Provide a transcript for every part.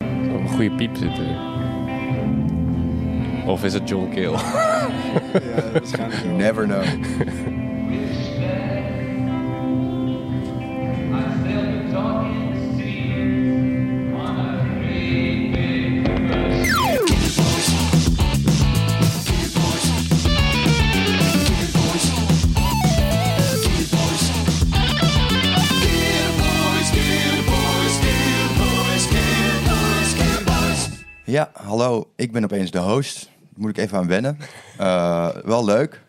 een goede piep zitten. Of is het John Keel? Ja, waarschijnlijk wel. Never know. Ja, hallo. Ik ben opeens de host. Daar moet ik even aan wennen. Eh, wel leuk.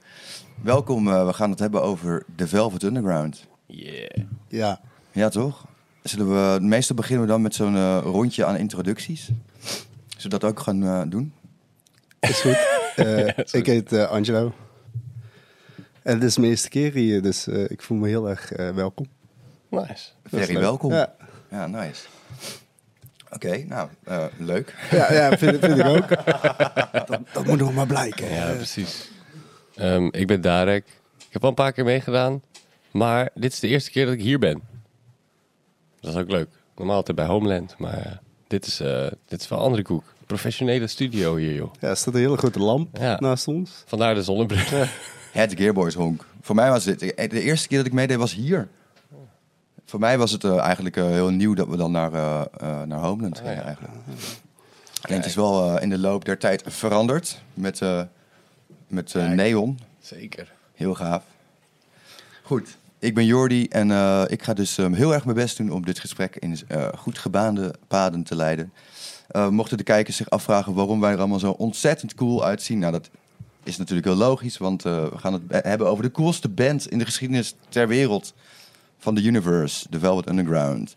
Welkom. eh, we gaan het hebben over The Velvet Underground. Yeah. Ja. Ja, toch? Zullen we, meestal beginnen we dan met zo'n eh, rondje aan introducties. Zullen we dat ook gaan eh, doen? Is goed. Eh, ik heet eh, Angelo. En dit is mijn eerste keer hier, dus eh, ik voel me heel erg eh, welkom. Nice. Dat is Very leuk. welkom. Ja, Ja, nice. Oké, nou, eh, leuk. ja, ja vind, vind ik ook. dat moet nog maar blijken. Ja, precies. Ehm, ik ben Darek. Ik heb al een paar keer meegedaan. Maar dit is de eerste keer dat ik hier ben. Dat is ook leuk. Normaal altijd bij Homeland. Maar eh, dit, is, eh, dit is wel een andere koek. Professionele studio hier, joh. Ja, er staat een hele grote lamp Ja. naast ons. Vandaar de zonnebril. Het Gearboys honk. Voor mij was dit... De eerste keer dat ik meedeed was hier. Voor mij was het eh, eigenlijk eh, heel nieuw dat we dan naar, eh eh, naar Homeland gingen Oh, ja. eigenlijk. Alleen het is wel eh, in de loop der tijd veranderd. Met, eh, met eh, Kijk. neon. Zeker. Heel gaaf. Goed, ik ben Jordi en eh, ik ga dus ehm, heel erg mijn best doen om dit gesprek in eh, goed gebaande paden te leiden. Eh, mochten de kijkers zich afvragen waarom wij er allemaal zo ontzettend cool uitzien, nou dat is natuurlijk heel logisch, want eh, we gaan het be- hebben over de coolste band in de geschiedenis ter wereld van de universe, de Velvet Underground.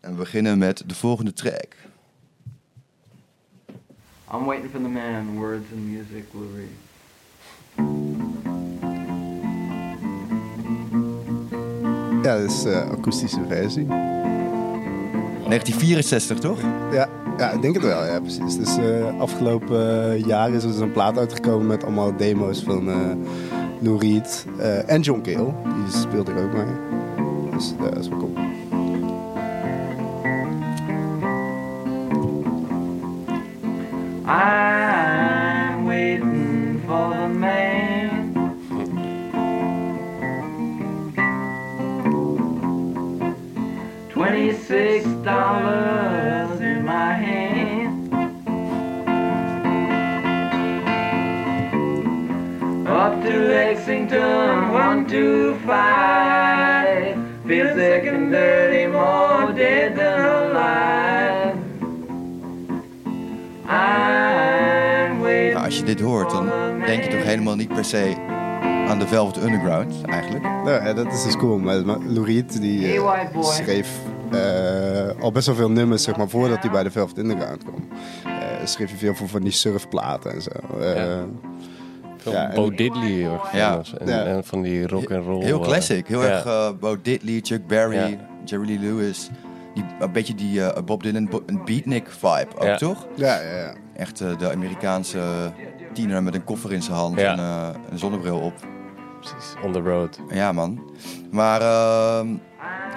En we beginnen met de volgende track. I'm waiting for the man, words and music, Lou Reed. Ja, dat is eh akoestische versie. 1964 toch? Ja, ja, ik denk het wel. Ja, precies. Dus eh, afgelopen eh, jaar is er dus een plaat uitgekomen met allemaal demo's van eh Lou Reed eh, en John Cale. Die speelde ik ook mee. Dus eh, dat is wel cool. I'm waiting for the man. Twenty-six dollars in my hand. Up to Lexington, one, two, five. Feel sick and dirty, more dead than alive. I'm waiting. Nou, als je dit hoort, dan denk je toch helemaal niet per se aan de Velvet Underground eigenlijk? Nou, ja, dat is dus cool. Maar maar Lou Reed die eh, Hey, white boy. schreef eh, al best wel veel nummers, zeg maar, voordat hij bij de Velvet Underground kwam. Eh, schreef hij veel voor van die surfplaten en zo. Eh, Ja. Veel Ja, en- Bo Diddley heel erg van Ja. was. En, Ja. en van die rock and roll. eh, Heel classic. Heel ja. erg eh, Bo Diddley, Chuck Berry, Ja. Jerry Lee Lewis. Die, een beetje die eh, Bob Dylan bo- een beatnik vibe ook, Ja. toch? ja, ja, ja. Echt eh, de Amerikaanse tiener met een koffer in zijn hand Ja. en eh, een zonnebril op. Precies. On the road. Ja, man. Maar ehm,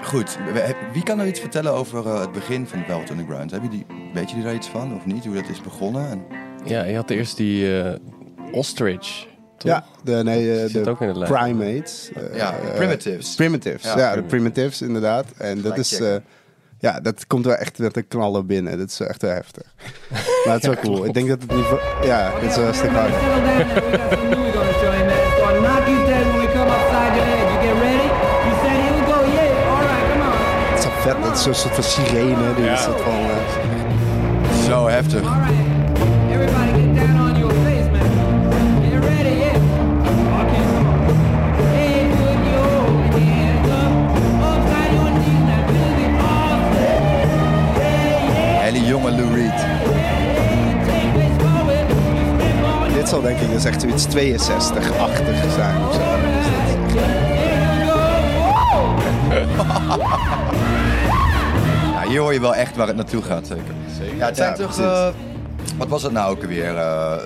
goed, We- wie kan nou iets vertellen over eh, het begin van Velvet Underground? Heb je die, weet je daar iets van of niet? Hoe dat is begonnen? En, Ja, je had eerst die eh, Ostrich. Toch? Ja, de, nee, eh, Zit de ook in het lijstje. primates. eh, ja, eh, primitives. Primitives, Ja, ja, de primitives inderdaad. En dat Gelijk is, checken. eh, ja, dat komt wel echt met een knallen binnen. Dat is wel echt wel heftig. maar het is wel cool. Ik denk dat het niveau, ja, dit is wel hartstikke hard. Het is wel vet, dat is zo'n soort van sirene. Die is dat van, eh, Zo heftig. Hele jonge Lou Reed. dit zal denk ik dus echt zoiets 62-achtig zijn. of zo. Dus dat is echt- Ja, hier hoor je wel echt waar het naartoe gaat, zeker. Ja, het zijn Ja, toch... precies. eh, wat was het nou ook weer? Eh,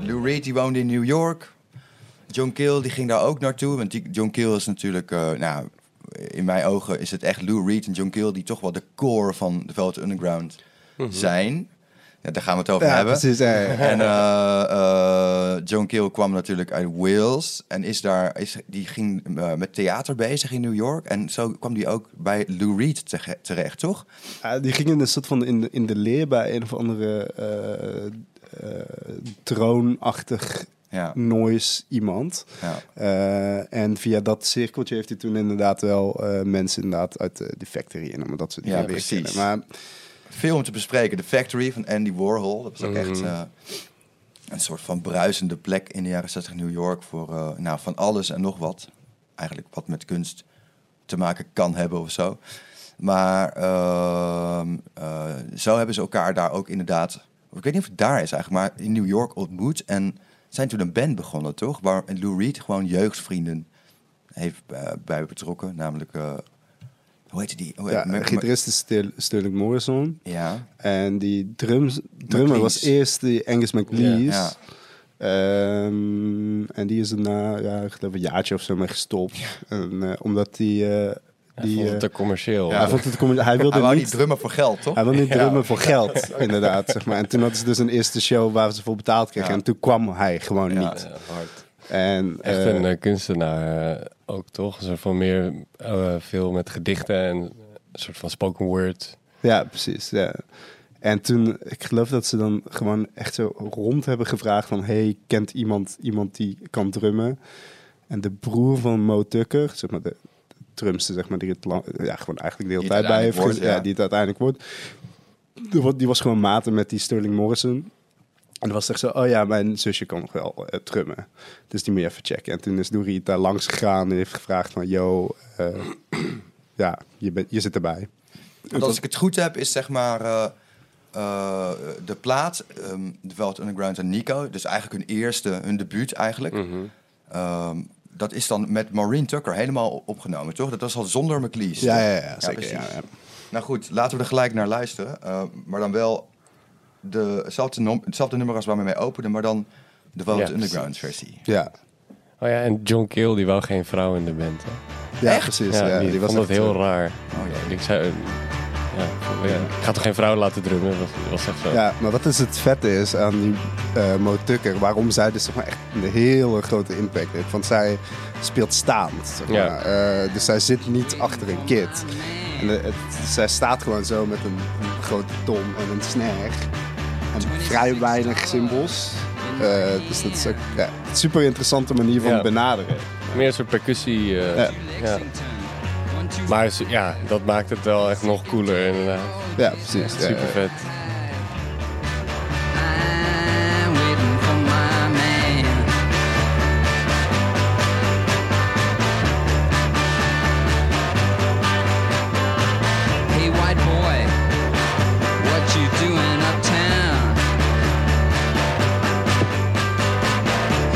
Lou Reed die woonde in New York. John Keel die ging daar ook naartoe. Want die, John Keel is natuurlijk... eh, nou, in mijn ogen is het echt Lou Reed en John Keel... die toch wel de core van de Velvet Underground zijn. Ja, daar gaan we het over Ja, hebben. precies. ja, ja. En eh, eh, Joan Keel kwam natuurlijk uit Wales en is daar, is, die ging eh, met theater bezig in New York. En zo kwam die ook bij Lou Reed tege- terecht, toch? Ja, die gingen een soort van in de, in de leer bij een of andere eh eh, droneachtig Ja. noise iemand. ja. Eh, en via dat cirkeltje heeft hij toen inderdaad wel eh, mensen inderdaad uit de, de factory in, maar dat soort Ja, dingen weer precies. kennen. Maar Veel om te bespreken. The Factory van Andy Warhol. Dat was ook echt eh, een soort van bruisende plek in de jaren 60 New York voor eh, nou, van alles en nog wat. Eigenlijk wat met kunst te maken kan hebben of zo. Maar ehm, eh, zo hebben ze elkaar daar ook inderdaad. Ik weet niet of het daar is eigenlijk, maar in New York ontmoet. En zijn toen een band begonnen, toch? Waar Lou Reed gewoon jeugdvrienden heeft eh, bij betrokken. Namelijk, eh, hoe heette die? Hoe ja, heet- de gitarist is Stil- Sterling Morrison. ja. En die drums, drummer was McLeese. eerst die Angus McLeese. Ja. Ehm, en die is daarna, ja, ik geloof een jaartje of zo mee gestopt. En, eh, omdat die... eh, die vond eh, het te commercieel. hij, vond het, commer- hij wilde Hij Ah, wou niet... niet drummen voor geld, toch? Hij wil niet drummen voor geld, inderdaad. Zeg maar. En toen hadden ze dus een eerste show waar ze voor betaald kregen. Ja. En toen kwam hij gewoon Ja. niet. Ja, hard. En, Echt eh, een eh, kunstenaar eh, ook, toch? Een soort van meer eh, veel met gedichten en een soort van spoken word. Ja, precies. Ja. En toen, ik geloof dat ze dan gewoon echt zo rond hebben gevraagd van... hey, kent iemand iemand die kan drummen? En de broer van Mo Tucker, zeg maar de, de drumster, zeg maar, die het lang, ja, gewoon eigenlijk de hele Die het tijd bij heeft uiteindelijk wordt, gez- ja. ja. die het uiteindelijk wordt. Die wa- Die was gewoon maten met die Sterling Morrison. En dan was het echt zo, oh ja, mijn zusje kan nog wel eh, trummen. Dus die moet je even checken. En toen is Dorie daar langs gegaan en heeft gevraagd van... yo, eh, ja, je, bent je zit erbij. Want als ik het goed heb, is zeg maar eh, eh, de plaat, ehm The Velvet Underground en Nico, dus eigenlijk hun eerste, hun debuut eigenlijk. Mhm. ehm, dat is dan met Maureen Tucker helemaal op- opgenomen, toch? Dat was al zonder McLeese. Ja, toch? ja, ja, zeker. Ja, precies. ja. Nou goed, laten we er gelijk naar luisteren. eh, maar dan wel de, hetzelfde, nom- hetzelfde nummer als waar we mee openden, maar dan de Velvet Ja, Underground versie. Ja, Oh ja, en John Keel die wou geen vrouw in de band. Hè? ja Echt? precies. Ja, Dus, Ja, die, vond dat echt, heel eh, raar. Oh, Ik zei, eh, ja, ik ga toch geen vrouw laten drummen? Dat was, was echt zo. Ja, maar wat dus het vette is aan die eh Mo Tucker, waarom zij dus zeg maar, echt een hele grote impact heeft. Want zij speelt staand. Zeg maar. Ja. Eh, dus zij zit niet achter een kit. En eh, het- zij staat gewoon zo met een, een grote tom en een snare. En vrij weinig symbols. Eh, dus dat is ook ja, een super interessante manier van Ja. benaderen. Meer een soort percussie. eh, Ja. ja. Maar ze- ja, dat maakt het wel echt nog cooler inderdaad. Ja, precies. Ja, Super vet. I'm waiting for my man. Hey, white boy, what you doing uptown?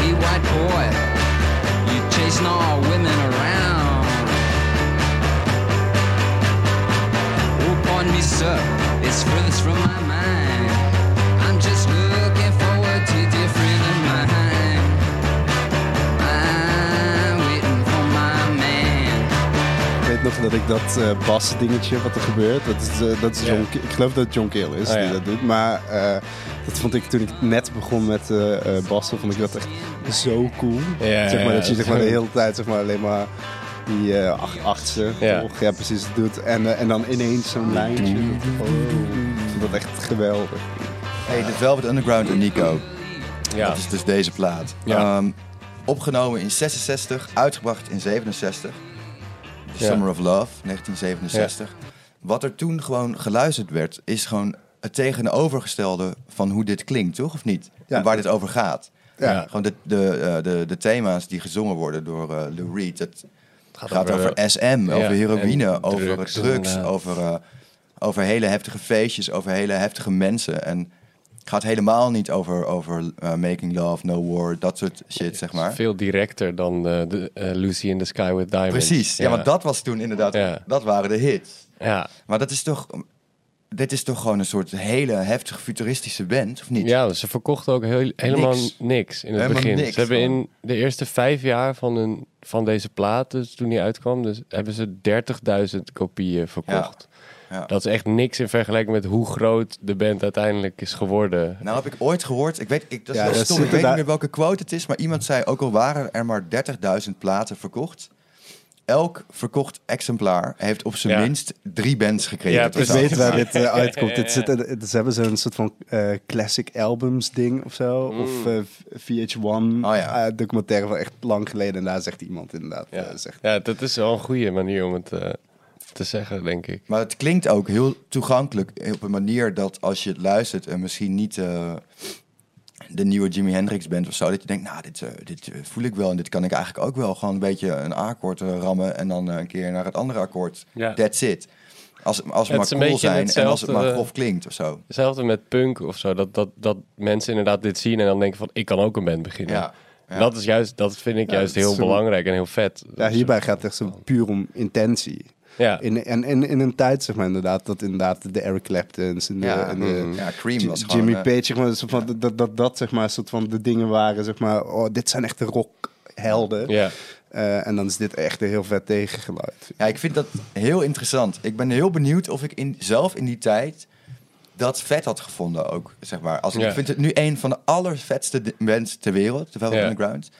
Hey, white boy, you chasing all women around? Oh, pardon me, sir, it's furthest from my mind. I'm just looking forward to different in mine. I'm waiting for my man. Ik weet nog dat ik dat eh bas dingetje wat er gebeurt, dat is, eh, dat is John, Ke- ik geloof dat het John Keel is Oh, ja. die dat doet, maar eh, dat vond ik toen ik net begon met eh eh, bassen, vond ik dat echt zo cool. ja, zeg maar, dat je ja. zeg maar, de hele tijd zeg maar, alleen maar die eh, ach- achtste, Ja. toch? Ja, precies, doet. En, eh, en dan ineens zo'n lijntje. Oh, ik vond dat echt geweldig. Hey, The Velvet Underground en Nico. Ja. Dat is dus deze plaat. Ja. Ehm, opgenomen in 66, uitgebracht in 67. The Ja. Summer of Love, 1967. Wat er toen gewoon geluisterd werd, is gewoon het tegenovergestelde van hoe dit klinkt, toch? Of niet? Ja. En waar dit over gaat. Ja. Gewoon de, de, eh, de, de thema's die gezongen worden door eh, Lou Reed. Het Ah, gaat, over, SM, over heroïne, en over drugs, drugs, inderdaad. over, eh, over hele heftige feestjes, over hele heftige mensen. En het gaat helemaal niet over, over eh, making love, no war, dat soort shit, zeg maar. Veel directer dan eh, de, eh, Lucy in the Sky with Diamonds. Precies, ja, want dat was toen inderdaad, Ja. dat waren de hits. Ja, Maar dat is toch, dit is toch gewoon een soort hele heftige futuristische band, of niet? ja ze verkochten ook heel, helemaal Niks. niks, in het Helemaal begin. niks, ze hebben gewoon. in de eerste vijf jaar van, hun, van deze plaat, dus toen die uitkwam, dus hebben ze 30.000 kopieën verkocht. Ja. Dat is echt niks in vergelijking met hoe groot de band uiteindelijk is geworden. Nou heb ik ooit gehoord, ik weet, ik, dat is Ja, wel dat stom, zit ik weet er niet daar- meer welke quote het is, maar iemand zei, ook al waren er maar 30.000 platen verkocht, elk verkocht exemplaar heeft op zijn Ja. minst drie bands gekregen. Ja, tot Ik precies. dato. weet waar dit eh, uitkomt. Dit zit, eh, ze hebben zo'n soort van eh, classic albums ding of zo. Of eh, VH1 ja. eh, documentaire van echt lang geleden. En daar zegt iemand inderdaad. eh, Ja. zegt, ja, dat is wel een goede manier om het eh, te zeggen, denk ik. Maar het klinkt ook heel toegankelijk eh, op een manier dat als je het luistert en misschien niet eh, de nieuwe Jimi Hendrix bent of zo, dat je denkt, nou, dit, eh, dit eh, voel ik wel en dit kan ik eigenlijk ook wel. Gewoon een beetje een A-akkoord eh, rammen en dan eh, een keer naar het andere akkoord. Ja. That's it. Als, als we Het maar is een cool beetje zijn en als het hetzelfde, maar eh, grof klinkt of zo. Hetzelfde met punk of zo. Dat, dat, dat mensen inderdaad dit zien en dan denken van... ik kan ook een band beginnen. Ja, ja. Dat, is juist, dat vind ik Ja, juist dat is heel zo- belangrijk en heel vet. ja, hierbij gaat het echt zo puur om intentie. Ja. In, en in, in een tijd, zeg maar, inderdaad, dat inderdaad de Eric Claptons en de, Ja, en de ja, Cream Ji- was gewoon, Jimmy eh, Page, zeg maar, soort van, dat, dat, dat, zeg maar, soort van de dingen waren, zeg maar, oh, dit zijn echt de rockhelden. Ja. Eh, en dan is dit echt een heel vet tegengeluid. Ja, ik vind dat heel interessant. Ik ben heel benieuwd of ik in, zelf in die tijd dat vet had gevonden ook, zeg maar. Als, Ja. Ik vind het nu een van de allervetste di- mensen ter wereld, de Velvet Ja. Underground.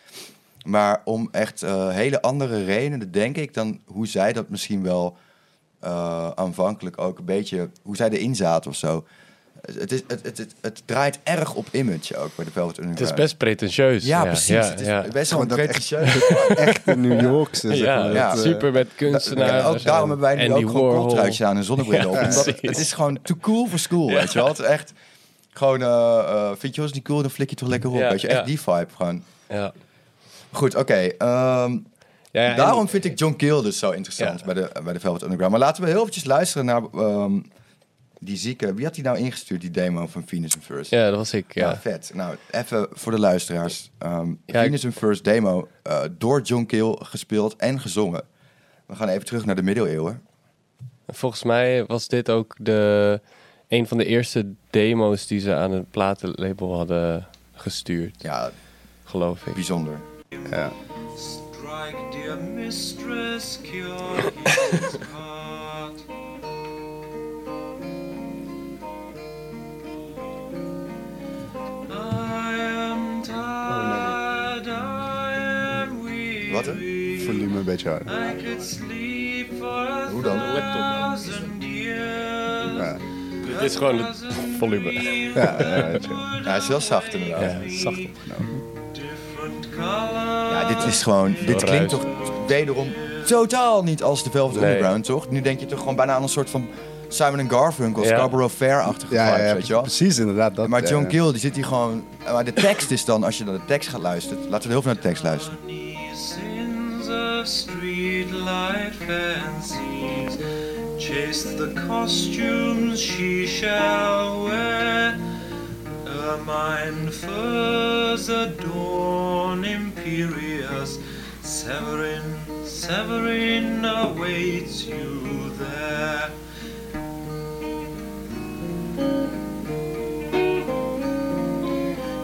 Maar om echt eh, hele andere redenen, denk ik, dan hoe zij dat misschien wel eh, aanvankelijk ook een beetje... hoe zij erin zaten of zo. Het, is, het, het, het, het draait erg op image ook bij de Velvet Underground. Het is best pretentieus. Ja, precies. Ja, het is ja. best Oh, wel dat echt- pretentieus. Echt een New Yorkse, zeg Ja, maar. ja, dat, eh, super met kunstenaars. En ook en daarom hebben wij nu Andy ook gewoon Warhol. kortruitjes aan en zonnebril op. Omdat het, precies. het is gewoon too cool voor school, weet je wel. Het is echt gewoon, eh, eh, vind je ons niet cool, dan flik je toch lekker op, Ja, weet je. Echt ja. die vibe gewoon. Ja. Goed, oké. ehm, Ja, ja, en- daarom vind ik John Cale dus zo interessant Ja. bij, de, bij de Velvet Underground. Maar laten we heel eventjes luisteren naar ehm, die zieke... Wie had die nou ingestuurd, die demo van Venus and First? ja, dat was ik. Ja. Ja. vet. Nou, even voor de luisteraars. Ehm Ja, Venus in First demo eh, door John Cale gespeeld en gezongen. We gaan even terug naar de middeleeuwen. Volgens mij was dit ook de, een van de eerste demo's die ze aan een platenlabel hadden gestuurd, Ja, geloof ik. bijzonder. ja. Strike, dear mistress, cure his heart. I am tired, I am weary. Wat, hè? Volume een beetje harder. I could sleep for a Hoe dan? thousand years. Ja, Dit is gewoon het volume. ja, ja, weet je wel. Ja, hij is wel zacht inderdaad. Ja, Ja, zacht opgenomen. Different colors. dit is gewoon... Dit klinkt ruis. toch wederom totaal niet als de Velvet Nee. Underground, toch? Nu denk je toch gewoon bijna aan een soort van Simon and Garfunkel, Ja. Scarborough Fair-achtige ja, ja, vibes, ja, weet je wel? precies inderdaad. Dat, Maar eh, John Cale, die zit hier gewoon... Maar de tekst is dan, als je naar de tekst gaat luisteren... Laten we heel veel naar de tekst luisteren. Sins of streetlight fancies chase the costumes she shall wear. Her mind furs adorn imperious. Severin, Severin awaits you there.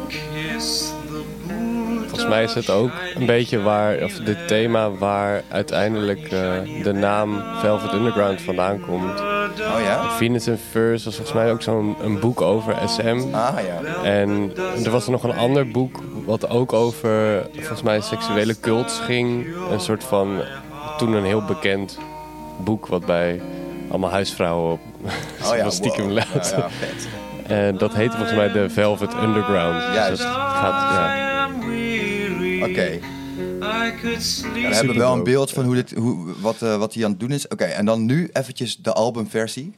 Kiss the boot Volgens mij is het ook een beetje waar, of dit thema waar uiteindelijk eh, de naam Velvet Underground vandaan komt. Oh ja? Venus and Furs was volgens mij ook zo'n een boek over SM. Ah ja. En er was nog een ander boek wat ook over, volgens mij, seksuele cults ging. Een soort van, toen een heel bekend boek wat bij allemaal huisvrouwen op Oh ja, stiekem wow. laat. Ja, ja, vet. En dat heette volgens mij de Velvet Underground. Juist. Dus dat gaat, ja. am weary. Oké. I could sleep. Ja, we hebben wel een beeld van hoe dit, hoe, wat, eh, wat hij aan het doen is. Oké, en dan nu eventjes de albumversie.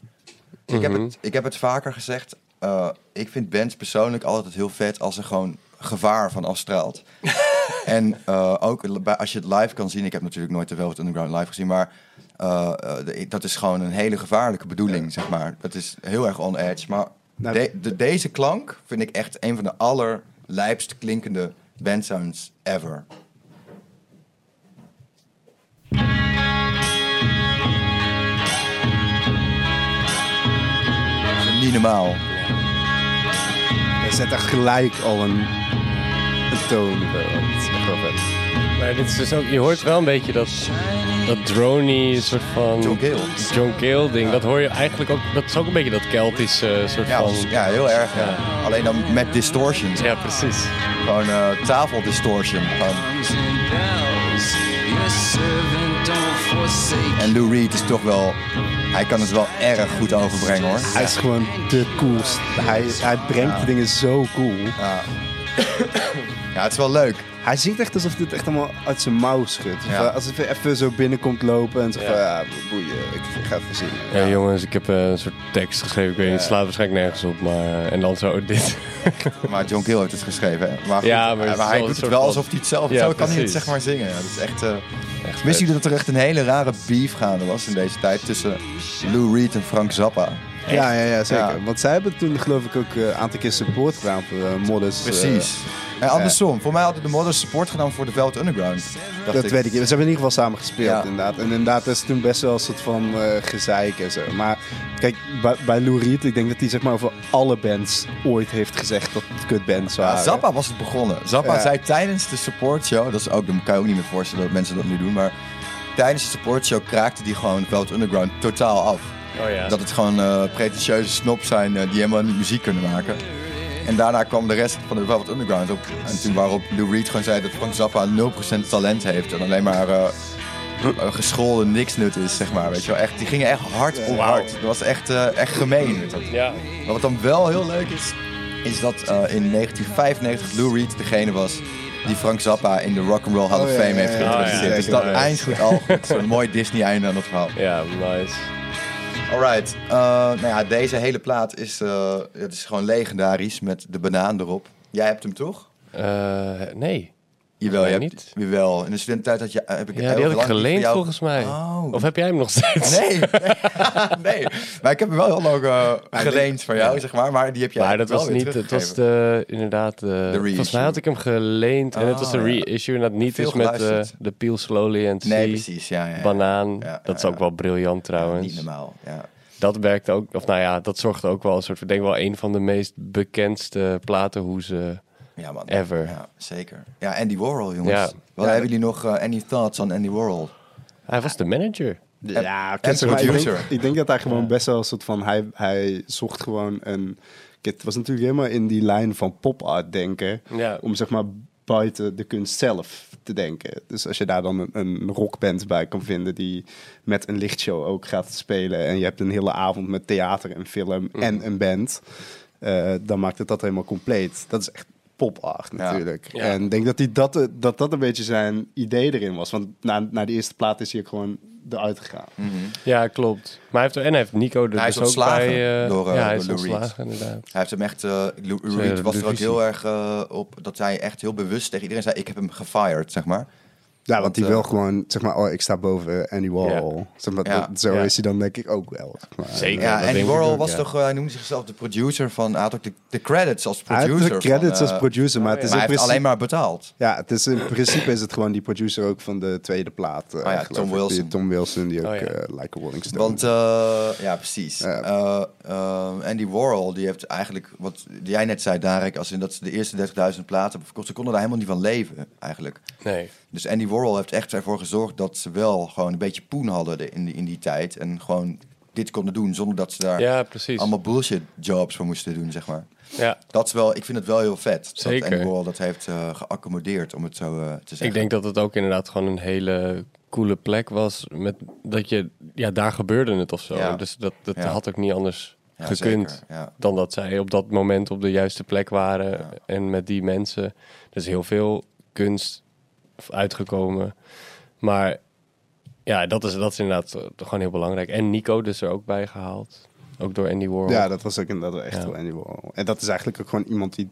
ik, heb het, ik heb het vaker gezegd. eh, ik vind bands persoonlijk altijd heel vet als er gewoon gevaar van afstraalt. en eh, ook li- bij- als je het live kan zien. Ik heb natuurlijk nooit de Velvet Underground live gezien. Maar eh, eh, de- dat is gewoon een hele gevaarlijke bedoeling, zeg maar. Dat is heel erg on edge. Maar Nou, de- de- deze klank vind ik echt een van de allerlijpst klinkende bandsounds ever. Dat is Niet normaal. Hij zet echt gelijk al een, een toon. eh, Dat is echt wel vet. Maar dit is dus ook, je hoort wel een beetje dat dat drony soort van... John Cale. John Cale ding. Dat hoor je eigenlijk ook... Dat is ook een beetje dat Keltische eh, soort Ja, van... dus- ja, heel erg. Ja. Alleen dan met distortion. Ja, precies. Gewoon eh tafeldistortion. Gewoon- Drums and bells, your servant don't forsake. En Lou Reed is toch wel... Hij kan het wel erg goed overbrengen, hoor. Hij is gewoon de coolst. Hij, hij brengt de dingen zo cool. Ja, het is wel leuk. Hij zingt echt alsof dit echt allemaal uit zijn mouw schudt. Of, Ja. eh, Alsof hij even zo binnenkomt lopen en zegt van, ja, boeien, ik ga even zingen. Ja, jongens, ik heb eh, een soort tekst geschreven. Ik weet niet, het slaat waarschijnlijk nergens op, maar... eh, en dan zo dit. Maar John Gill heeft het geschreven. hè? Maar, goed, Ja, maar het eh, is wel hij een doet het soort wel van- alsof hij het zelf Ja, Zo kan hij het precies. zeg maar zingen. Ja, dat is echt... eh, Echt Wist vet. jullie dat er echt een hele rare beef gaande was in deze tijd... tussen Lou Reed en Frank Zappa? Ja, ja, ja, zeker. Ja. Want zij hebben toen geloof ik ook eh, een aantal keer support gedaan voor eh, modders. eh, Precies. en andersom. Voor mij hadden de modders support gedaan voor de Velvet Underground. dacht dat weet ik. Ze hebben in ieder geval samen gespeeld, Ja. inderdaad. En inderdaad, dat is toen best wel een soort van eh, gezeik en zo. Maar kijk, bij, bij Lou Reed, ik denk dat hij zeg maar over alle bands ooit heeft gezegd dat het kutbands waren. Ja, Zappa was het begonnen. Zappa Ja. zei tijdens de supportshow, dat is ook, dat kan je ook niet meer voorstellen dat mensen dat nu doen, maar tijdens de supportshow kraakte die gewoon Velvet Underground totaal af. Oh ja. Dat het gewoon eh, pretentieuze snobs zijn eh, die helemaal niet muziek kunnen maken. En daarna kwam de rest van de Velvet Underground op. En toen waarop Lou Reed gewoon zei dat Frank Zappa 0% talent heeft en alleen maar eh eh, gescholden niks nut is, zeg maar. Weet je wel. Echt, die gingen echt hard op hard. Dat was echt, eh, echt gemeen. Dat- Ja. maar wat dan wel heel leuk is, is dat eh, in 1995 Lou Reed degene was die Frank Zappa in de Rock'n'Roll Hall Oh, of ja, Fame ja, heeft ja, ja. geïntroduceerd. Oh, ja, Dus dat zeker. eind goed al goed. Zo'n mooi Disney-einde aan dat verhaal. Ja, nice. Alright, eh, nou ja, deze hele plaat is, eh, het is gewoon legendarisch met de banaan erop. Jij hebt hem toch? Eh, nee. Jawel, je Nee, hebt, niet. jawel. dus In de studententijd had je, heb ik Ja, heel die had lang ik niet van geleend jou- volgens mij. Oh. Of heb jij hem nog steeds? Nee, nee, maar ik heb hem wel heel lang eh, geleend van jou, zeg maar. Maar die heb jij maar dat wel was weer niet, het was teruggegeven. de, inderdaad, de, volgens reissue. mij had ik hem geleend en het was de Ah, ja. reissue en dat niet Veel is met eh, geluisterd. de Peel Slowly and Nee, See, precies, ja, ja, ja. Banaan, Eh, Ja, dat is ja, ook ja. wel briljant trouwens. Niet normaal, ja. dat werkte ook, of nou ja, dat zorgde ook wel een soort, ik denk wel een van de meest bekendste platenhoezen. Ja, man. Ever. Ja, zeker. Ja, Andy Warhol, jongens. Ja. Wat hebben jullie nog? eh, any thoughts on Andy Warhol? Hij was de manager. Ja, en kijk, maar ik, denk, producer. ik denk dat hij gewoon best wel een soort van... Hij, hij zocht gewoon een... kijk, Het was natuurlijk helemaal in die lijn van pop-art denken. Ja. Om zeg maar buiten de kunst zelf te denken. Dus als je daar dan een, een rockband bij kan vinden... die met een lichtshow ook gaat spelen... en je hebt een hele avond met theater en film Mhm. en een band... eh, dan maakt het dat helemaal compleet. Dat is echt pop-art natuurlijk. Ja. En ik denk dat, die dat, eh, dat dat een beetje zijn idee erin was. Want na, na die eerste plaat is hij ook gewoon eruit gegaan. Mhm. Ja, klopt. Maar hij heeft, en hij heeft Nico er Hij is dus ook ontslagen bij. eh, door, eh, ja, hij door is Lou Reed. ontslagen inderdaad. Hij heeft hem echt... eh, Lou Lou Zijn Reed was er ook divisie. heel erg eh, op dat hij echt heel bewust tegen iedereen zei... Ik heb hem gefired, zeg maar. Ja, want die eh, wil gewoon, zeg maar, oh, ik sta boven Andy Warhol. Zeg maar, Ja. dat- zo Ja. is hij dan denk ik ook wel. zeg maar. Zeker. Ja, dat denk Andy ik Warhol ook, was ja. toch... eh, hij noemde zichzelf de producer van... Hij had ook de, de credits als Hij producer. heeft de credits van, als eh, producer, maar het is Maar in hij heeft principe... alleen maar betaald. Ja, het is, in principe is het gewoon die producer ook van de tweede plaat. eh, Oh ja, geloof Tom ik. Wilson. Die, Tom Wilson, die ook Oh, ja. eh, Like a Rolling Stone. Want, eh, ja, precies. Ja. Eh, eh, Andy Warhol, die heeft eigenlijk, wat jij net zei, Darek, als in dat ze de eerste 30.000 platen verkocht, ze konden daar helemaal niet van leven, eigenlijk. Nee. Dus Andy Warhol heeft echt ervoor gezorgd dat ze wel gewoon een beetje poen hadden de- in die, in die tijd. En gewoon dit konden doen zonder dat ze daar Ja, precies. allemaal bullshit jobs voor moesten doen, zeg maar. Ja. Dat is wel, ik vind het wel heel vet. Zeker. Dat Andy Warhol dat heeft eh, geaccommodeerd, om het zo eh, te zeggen. Ik denk dat het ook inderdaad gewoon een hele coole plek was. Met dat je, ja, daar gebeurde het of zo. Ja. Dus dat, dat Ja. had ook niet anders Ja, gekund. zeker, ja. Dan dat zij op dat moment op de juiste plek waren. En met die mensen. Dus heel veel kunst uitgekomen. Maar ja, dat is, dat is inderdaad eh, gewoon heel belangrijk. En Nico dus er ook bij gehaald. Ook door Andy Warhol. ja, dat was ook inderdaad echt Ja. wel Andy Warhol. En dat is eigenlijk ook gewoon iemand die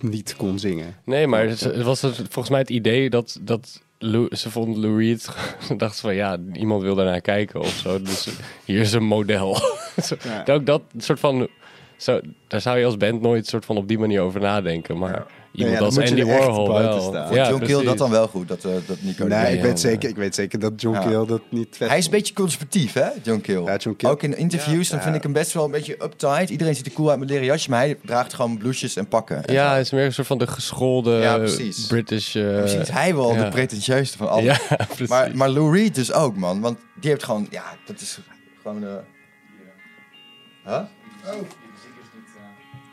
niet kon zingen. Nee, maar het, het was het- volgens mij het idee dat, dat Lou- ze vond Lou Reed... ze dacht ze van, ja, iemand wil daarnaar kijken of zo. Dus hier is een model. Zo, Ja. Ook dat soort van... Zo, daar zou je als band nooit soort van op die manier over nadenken. Maar Iemand ja, dan als moet je Andy er echt Warhol buiten wel. staan. Vond Ja, John Keel dat precies. dan wel goed, dat, eh, dat Nico Nee, erbij ik, weet had. zeker, ik weet zeker dat John Ja. Keel dat niet vet Hij is een beetje conservatief, hè, John Keel. Ja, John Keel. Ook in interviews, dan vind ik hem best wel een beetje uptight. Iedereen ziet er cool uit met leren jasje, maar hij draagt gewoon blouses en pakken. En Ja, hij is meer een soort van de geschoolde Ja, precies. British... eh, Misschien is hij wel ja. de pretentieuste van allen. Ja, precies. maar, maar Lou Reed dus ook, man. Want die heeft gewoon, ja, dat is gewoon... eh Huh? Oh.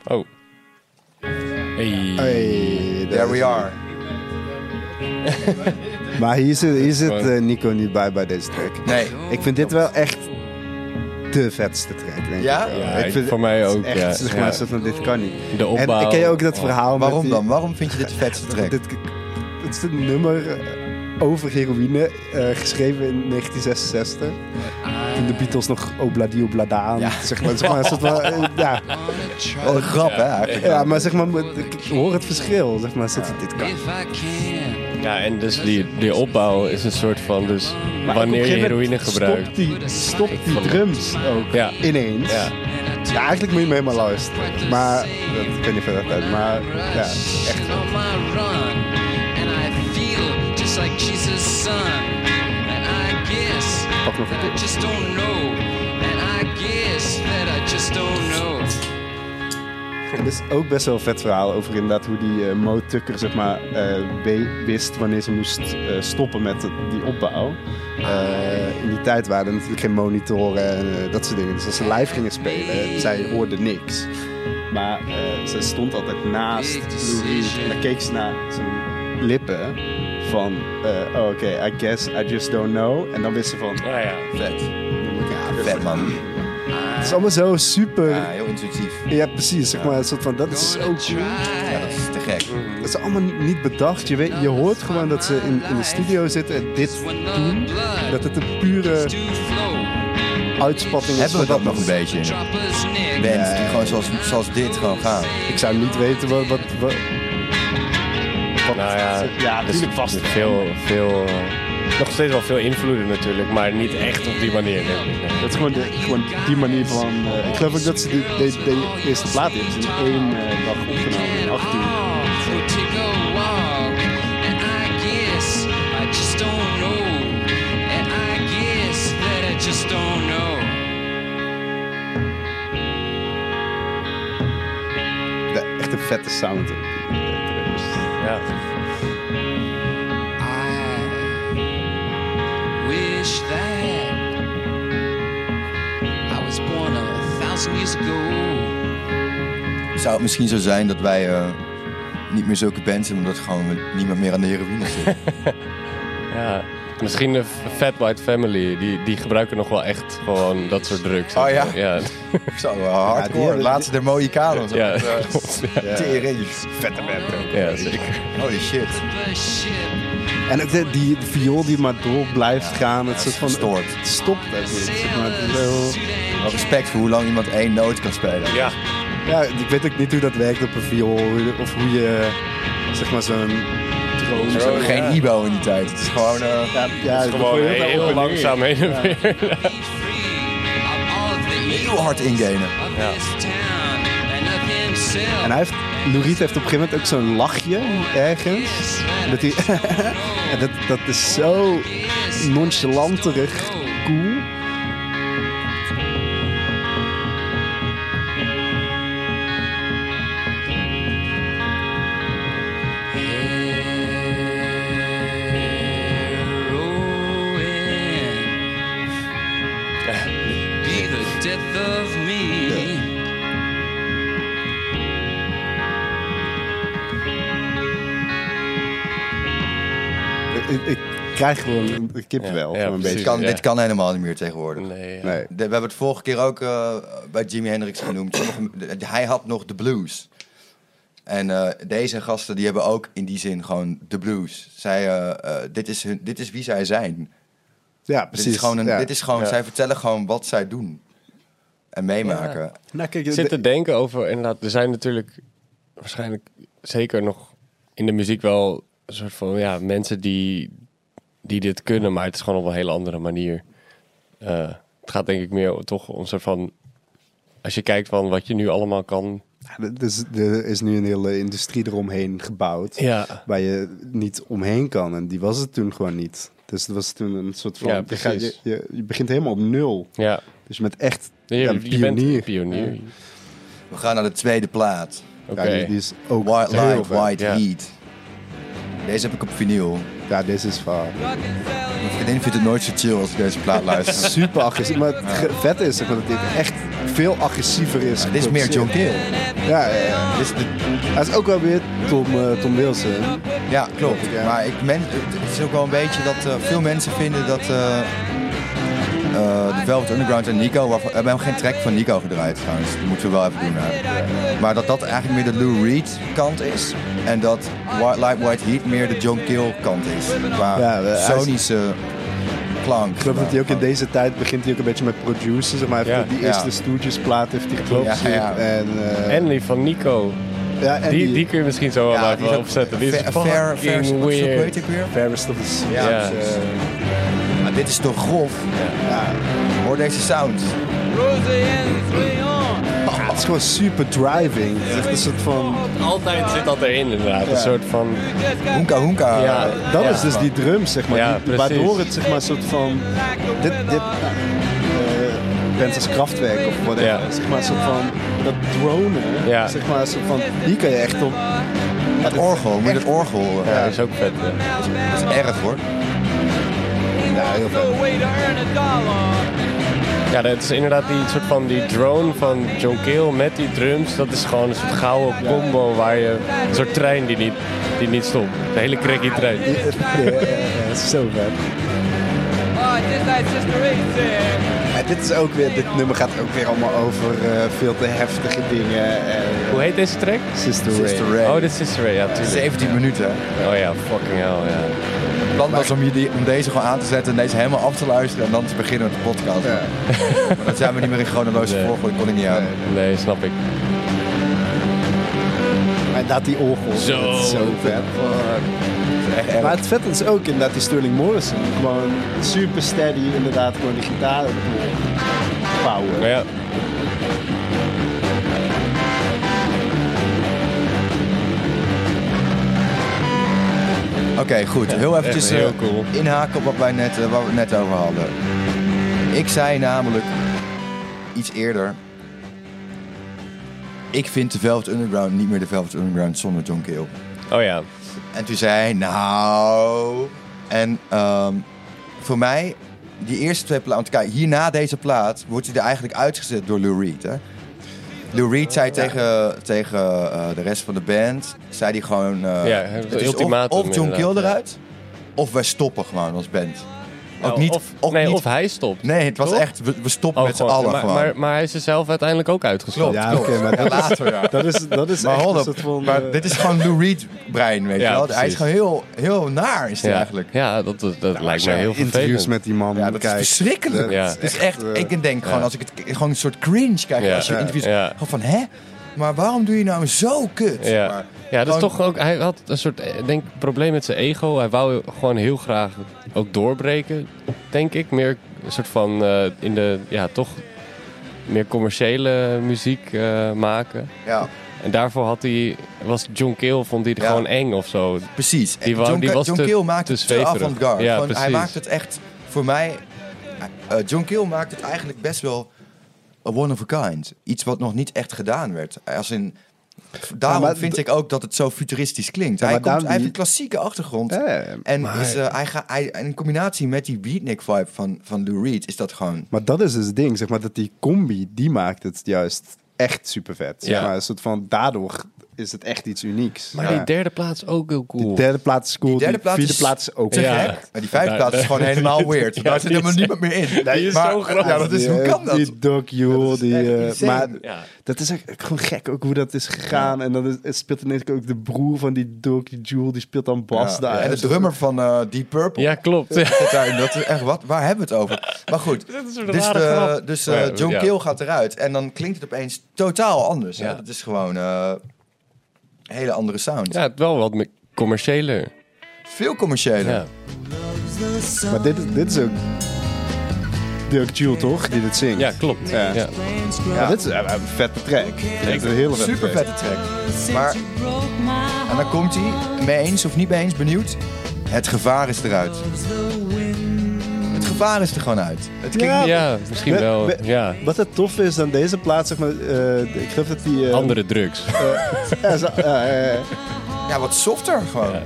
Oh, Hey. Hey, There we are. Maar hier zit, hier zit eh, Nico niet bij bij deze track. Nee. Ik vind dit wel echt de vetste track, denk Ja? ik. wel. Ja, ik ik- vind voor mij het is ook, Echt, ja. het is Zeg Ja. maar, een soort van, dit kan niet. De opbouw. En ik ken je ook dat Oh. verhaal. met Waarom die- dan? Waarom vind je dit de vetste track? Dit, het is het nummer eh, over heroïne, eh, geschreven in 1966. Toen de Beatles nog Obladi Oblada aan, zeg maar. Zeg maar een soort van, eh, ja. Oh, Wel een grap, hè, eigenlijk. ja, maar zeg maar, ik ik hoor het verschil. Zeg maar, zit, dit kan. If I can, Ja, en dus die, die opbouw is een soort van dus Maar op een wanneer je gegeven heroïne moment gebruikt. Stopt die, stopt die drums ook Ja. ineens. Ja. Ja, eigenlijk moet je me helemaal luisteren. Maar, dat kan niet verder uit. Maar, ja, echt. Rushing on my run, and I feel just like Jesus' son. And I guess Pak nog that een I keer. just don't know. And I guess that I just don't know. Het is ook best wel een vet verhaal over inderdaad hoe die eh Mo Tucker zeg maar, eh, we- wist wanneer ze moest eh, stoppen met het- die opbouw. Eh, in die tijd waren er natuurlijk geen monitoren en eh, dat soort dingen. Dus als ze live gingen spelen, zij hoorde niks. Maar eh ze stond altijd naast Lou Reed en dan keek ze naar zijn lippen van... eh, oh, oké, I guess I just don't know. En dan wist ze van... Ah ja. Vet. Ja, Vet, man. Het is allemaal zo super... Ja, heel intuïtief. Ja, precies. Zeg maar, een soort van, dat is zo Gonna cool. try. Ja, dat is te gek. Dat is allemaal niet- niet bedacht. Je, weet, je hoort gewoon dat ze in, in de studio zitten en dit When doen. the blood Dat het een pure begins to flow, uitspatting is. Hebben we van dat nog een beetje? dropper's neck. Bands die gewoon zoals, zoals dit gewoon gaan. Ik zou niet weten wat... wat, wat, wat- Nou ja, ja dus natuurlijk vast. Veel, veel, eh, nog steeds wel veel invloeden natuurlijk, maar niet echt op die manier denk ik. nee. Dat is gewoon, de, gewoon die manier van... eh, ik geloof ook dat ze die, de, de eerste plaat hebben ze in één eh, dag opgenomen. In acht uur. We'll take a walk, and I guess I just don't know. And I guess that I just don't know. Ja, echt een vette sound. Ja. I wish that I was born a thousand years ago. Zou het misschien zo zijn dat wij eh, niet meer zulke bands zijn, omdat gewoon we- niemand meer aan de heroïne zit? Ja, misschien de F- Fat White Family, die, die gebruiken nog wel echt gewoon dat soort drugs. Oh ja? Ja, zo, eh, hardcore. die hebben- Laatste der Mohikanen. ja, Ja. klopt, ja. eh, Tering. Vette band. ja zeker. Holy shit. The ship En ook de, die viool die maar door blijft gaan. Het soort van... gestoord. Het stopt ook niet. zeg maar, het is wel- Wel respect voor hoe lang iemand één noot kan spelen. Ja, Ja, ik weet ook niet hoe dat werkt op een viool. hoe- Of hoe je, zeg maar, zo'n drone... Er zo- was geen Ibo in die tijd. Het is gewoon... eh, Ja, ja, dat gewoon gooi je ook wel heel op en neer. langzaam heen en weer. Heel hard ingainen. Ja. Ja. En hij heeft, Louriet heeft op een gegeven moment ook zo'n lachje ergens. Dat hij, en dat, dat is zo nonchalanterig cool. Be the death of me. Ik, ik- ik krijg gewoon een kippenwel. Ja, ja, gewoon een precies. beetje. dit, kan, Ja. dit kan helemaal niet meer tegenwoordig. Nee, ja. Nee. De- we hebben het vorige keer ook eh, bij Jimi Hendrix genoemd. Sommige- de- de- Hij had nog de blues. En eh, deze gasten die hebben ook in die zin gewoon de blues. Zij, eh, eh, dit, is hun, dit is wie zij zijn. Ja, Dit precies. is gewoon, een, ja. dit is gewoon Ja. zij vertellen gewoon wat zij doen. En meemaken. Nou, kijk, Ik de- zit te denken over, inderdaad, er zijn natuurlijk waarschijnlijk zeker nog in de muziek wel een soort van, ja, mensen die, die dit kunnen, maar het is gewoon op een hele andere manier. Eh, het gaat denk ik meer toch om een soort van, als je kijkt van wat je nu allemaal kan Dus er is nu een hele industrie eromheen gebouwd. Ja. Waar je niet omheen kan. En die was het toen gewoon niet. Dus het was toen een soort van... Ja, je, gaat- je, precies. je, je begint helemaal op nul. Ja. Dus je bent echt Je, ja, je een bent pionier. pionier. We gaan naar de tweede plaat. Oké. Ja, die, die is ook White heel Light, vet. White ja. Heat. Deze heb ik op vinyl. Ja, dit is vaak. Mijn vriendin vindt het nooit zo chill als ik deze plaat luister. Super agressief. Maar het ge- vette is zeg maar, dat dit echt veel agressiever is. Dit is meer John geproduceerd. Cale. Ja, ja, ja. Dit is de- Hij is ook wel weer Tom, eh, Tom Wilson. Ja, klopt. Ja. Maar ik men, het is ook wel een beetje dat eh, veel mensen vinden dat eh, eh, de Velvet Underground en Nico... waarvan- we hebben geen track van Nico gedraaid trouwens. Dat moeten we wel even doen. hè. Maar dat dat eigenlijk meer de Lou Reed kant is. En dat White Light, White Heat meer de John Cale kant is. Qua Ja, eh, hij is- sonische klank. Ik geloof dat hij ook in deze tijd begint hij ook een beetje met produceren. Zeg maar, Hij heeft Ja. die eerste Ja. Stooges plaat heeft hij Klopt. geproduceerd. Ja, ja. En, eh, Henley van Nico. ja, en die, die kun je misschien zo wel Ja, die is even ook opzetten. Dit is ver- ver- fucking vers- hoe heet weird. ik weer? Ferris, dat is... Ja, Ja. dus, eh, maar dit is toch grof? Hoor deze sound. Ah, het is gewoon super driving. Het is echt een soort van... Altijd zit dat erin inderdaad. Een soort van... Hoenka hoenka. Ja, Dat eh, ja. is dus die drum, zeg maar. Ja, die, precies. waardoor het zeg maar een soort van... Dit, dit nou, eh, bands als Kraftwerk of whatever. Ja. Zeg maar een soort van... Dat dronen. Ja. Zeg maar een soort van... Hier kan je echt op... Het orgel, moet je het orgel. eh, Ja, dat is ook vet. hè. Dat is erg hoor. Ja, heel vet. Ja, dat is inderdaad die soort van die drone van John Cale met die drums. Dat is gewoon een soort gouden combo waar je een soort trein die niet, die niet stopt. De hele cracky trein. Ja, ja, ja, ja, zo vet. En dit is ook weer, dit nummer gaat ook weer allemaal over eh, veel te heftige dingen. en Hoe heet deze track? Sister, Sister Ray. Oh, Ray. dit is Sister Ray, ja, tuurlijk. 17 minuten. Oh ja, fucking hell, ja. Het plan was om, je die, om deze gewoon aan te zetten en deze helemaal af te luisteren en dan te beginnen met de podcast. Ja. Maar dat zijn we niet meer in chronologische Nee. volgorde, kon ik niet aan. Nee, snap ik. Maar dat die orgel, Zo. dat is zo vet. Echt erg. Maar het vet is ook inderdaad die Sterling Morrison. Gewoon super steady, inderdaad gewoon die gitaar Maar power. ja, Oké, goed. Heel eventjes echt heel eh, cool. inhaken op wat, wij net, eh, waar we het net over hadden. Ik zei namelijk iets eerder. Ik vind de Velvet Underground niet meer de Velvet Underground zonder John Cale. oh ja. En toen zei hij, nou... En ehm, voor mij, die eerste twee platen... Want kijk, hierna deze plaat wordt hij er eigenlijk uitgezet door Lou Reed, hè? Lou Reed zei tegen, tegen eh, de rest van de band... zei hij gewoon... eh, Ja, het het is of, ultimatum of John Kill inderdaad, ja. eruit... of wij stoppen gewoon als band. Ook Nou, niet... of, ook nee, niet- of hij stopt. nee, het was Toch? echt... We, we stoppen Oh, met z'n gewoon. allen maar, gewoon. Maar, maar hij is er zelf uiteindelijk ook uitgestopt. Ja, oké, maar En dat is, later, ja. dat is, dat is Maar echt hold een up, soort van... maar eh, dit is gewoon Lou Reed brein, weet Ja, je wel? Hij is precies. gewoon heel, heel naar, is hij Ja. eigenlijk. Nou, Ja, dat, dat, dat lijkt me ja, heel interviews vervelend. met die man. Ja, dat kijk, is verschrikkelijk. Ja. Het is echt, eh, ik denk gewoon, ja. als ik het, gewoon een soort cringe krijg Ja. als je Ja. interviews, Ja. gewoon van, hè? Maar waarom doe je nou zo kut? Ja. Maar ja, dat is gewoon- toch ook. Hij had een soort eh, denk, probleem met zijn ego. Hij wou gewoon heel graag ook doorbreken, denk ik. Meer een soort van eh, in de ja, toch meer commerciële muziek eh, maken. Ja, En daarvoor had hij, was John Cale, vond hij het Ja. gewoon eng of zo. precies. En Die wou- John, die Ke- was John te- Keel maakt te het te zweverig. avant-garde. Ja, Gewoon, hij precies. maakt het echt, voor mij, eh, John Keel maakt het eigenlijk best wel a one of a kind. Iets wat nog niet echt gedaan werd. Als in, daarom Ja, maar vind d- ik ook dat het zo futuristisch klinkt. Ja, hij, maar komt, daarom hij heeft die- een klassieke achtergrond. Ja, En maar- is, eh, hij ga, hij, en in combinatie met die beatnik vibe van, van Lou Reed is dat gewoon. Maar dat is dus het ding, zeg maar, dat die combi, die maakt het juist echt super vet. Zeg Ja. maar, een soort van, daardoor is het echt iets unieks. Maar Ja. die derde plaats ook heel cool. Die derde plaats is cool, Die die, derde plaats vierde is- plaats is ook Te vet. Ja. gek. Maar die vijfde Daar- plaats is daar- gewoon helemaal weird. Ja, Daar zit die helemaal is- niemand meer in. die is Maar- zo groot. Ja, dat is, hoe kan dat? Die Doc Yule, die... echt eh, insane. maar Ja. dat is echt gewoon gek ook hoe dat is gegaan. En dan is, het speelt ineens ook de broer van die Doc Yule, die speelt dan bas Ja, daar. en de Dus- drummer van eh, Deep Purple. Ja, klopt. Ja. zit daarin. Dat is echt wat. Waar hebben we het over? Maar goed. Dat is een dus rare eh, grap. dus eh, Maar ja, John ja. Keel gaat eruit. En dan klinkt het opeens totaal anders. hè. Ja. Dat is gewoon eh, een hele andere sound. Ja, het wel wat me- commerciëler. Veel commerciëler. Ja. Maar dit, is- dit is ook Dirk Jule, toch? Die dit zingt. Ja, klopt. Ja. Ja. Ja, dit is eh, een vette track. Echt een hele vette Super track. vette track. Maar, en dan komt hij, mee eens of niet mee eens, benieuwd. Het gevaar is eruit. Het gevaar is er gewoon uit. Het klinkt Ja. Ja, misschien We- wel. we- Ja. Wat het tof is aan deze plaat, zeg maar, eh, ik geloof dat die... eh, Andere drugs. ja, zo- eh, ja, ja, ja. niet- ja, wat softer gewoon. Ja,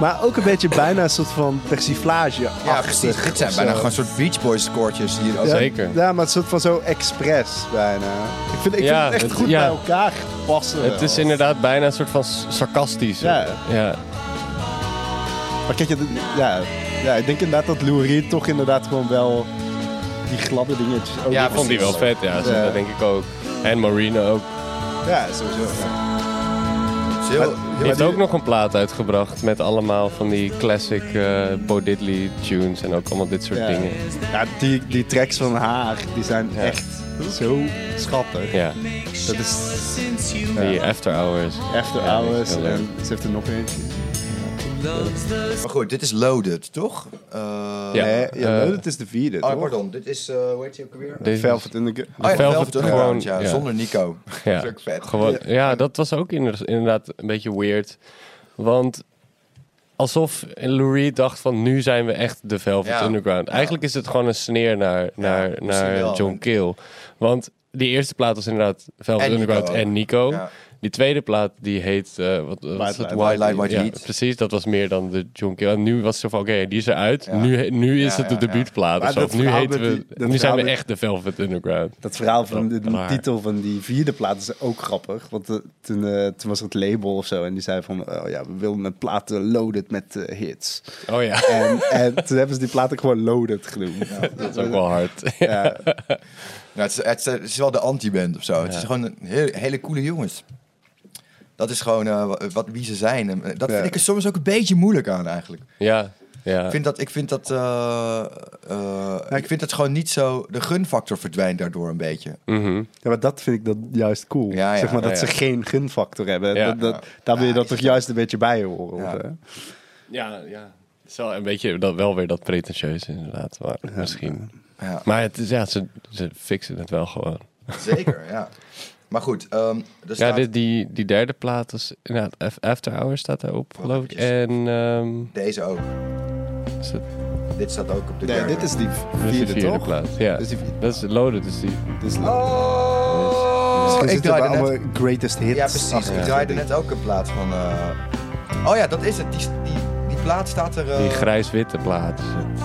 Maar ook een beetje bijna een soort van persiflage precies. Dit zijn bijna gewoon soort Beach Boys koortjes hier. Ja, Zeker. Ja, maar het soort van zo expres bijna. Ik vind, ik Ja, vind het echt het- goed ja. bij elkaar passen. Het is inderdaad bijna een soort van s- sarcastisch. Ja. ja. Maar kijk, je, ja, ja, ik denk inderdaad dat Lou Reed toch inderdaad gewoon wel die gladde dingetjes... ook Ja, nog- vond hij wel vet, ja. Zo, Ja. Dat denk ik ook. En Marina ook. Ja, sowieso. ja. Het is heel- Je heel- heeft ook nog een plaat uitgebracht met allemaal van die classic eh Bo Diddley tunes en ook allemaal dit soort Ja. dingen. Ja, die, die tracks van haar, die zijn echt zo schattig. Ja, Dat is die After Hours. After Ja, die is Hours heel leuk. en ze heeft er nog eentje. Maar goed, dit is Loaded, toch? Eh, Ja. Nee, ja, eh, dat is de vierde, Oh, toch? pardon. Dit is, eh hoe heet hij ook alweer? Dit is- Velvet in the... Oh Velvet ja, Velvet gewoon, Underground, ja, ja. Zonder Nico. Nou, ja. Dat is ook vet. Gewoon, ja, dat was ook inder- inderdaad een beetje weird. Want alsof Lou Reed dacht van nu zijn we echt de Velvet Ja. Underground. Eigenlijk is het gewoon een sneer naar, naar, misschien wel. naar John Keel. Want die eerste plaat was inderdaad Velvet En Nico Underground ook. en Nico. Ja. Die tweede plaat die heet eh, wat, wat Light, is het? Light, White Light, White ja, Heat. Precies, dat was meer dan de John Keel. En nu was het zo van oké, die is eruit. Ja. Nu, nu is Ja, het de ja, ja. debuutplaat. Maar of zo. dat Nu, verhaal heten met we, die- dat nu zijn verhaal we met- echt de Velvet Underground. Dat verhaal van de, Dat- de raar. titel van die vierde plaat is ook grappig. Want eh, toen, eh, toen was er het label of zo. En die zei van, oh ja, we willen een plaat eh, loaded met eh, hits. Oh ja, En, en toen hebben ze die platen gewoon loaded genoemd. Ja, dat is ook wel hard. Ja. Nou, het, is, het, is, het is wel de anti-band of zo. Het is gewoon een heel, hele coole jongens. Dat is gewoon eh, wa- wat, wie ze zijn. En eh, dat Ja. vind ik er soms ook een beetje moeilijk aan eigenlijk. ja. Ik vind dat, ik vind dat, eh, eh, ik vind dat gewoon niet zo... De gunfactor verdwijnt daardoor een beetje. Mhm. maar dat vind ik dat juist cool. Ja, ja, zeg maar dat ja, ze ja. geen gunfactor hebben. Ja. Dat, dat, daar wil je Ja, dat is toch dat- juist een beetje bij horen. Ja. of, eh? Ja, ja. Het is wel een beetje dat, wel weer dat pretentieus inderdaad. Maar misschien. Ja, Maar het is, ja, ze, ze fixen het wel gewoon. zeker, ja. Maar goed, ehm, er Ja, staat- dit, die, die derde plaat is inderdaad Af- After Hours staat daarop, geloof ik. Oh, Jezus. En ehm, deze ook. is het- Dit staat ook op de Nee, derde. dit is die dit vierde, is de vierde toch? plaat. Ja, Dit is die vierde. dat is Loaded. Dus die, Dus, Oh, misschien ik zitten draaide bij alle net... greatest hits. Ja, precies. achter. Ik draaide net ook een plaat van... eh, Oh ja, dat is het. Die, die, die plaat staat er... eh, die grijs-witte plaat. is het.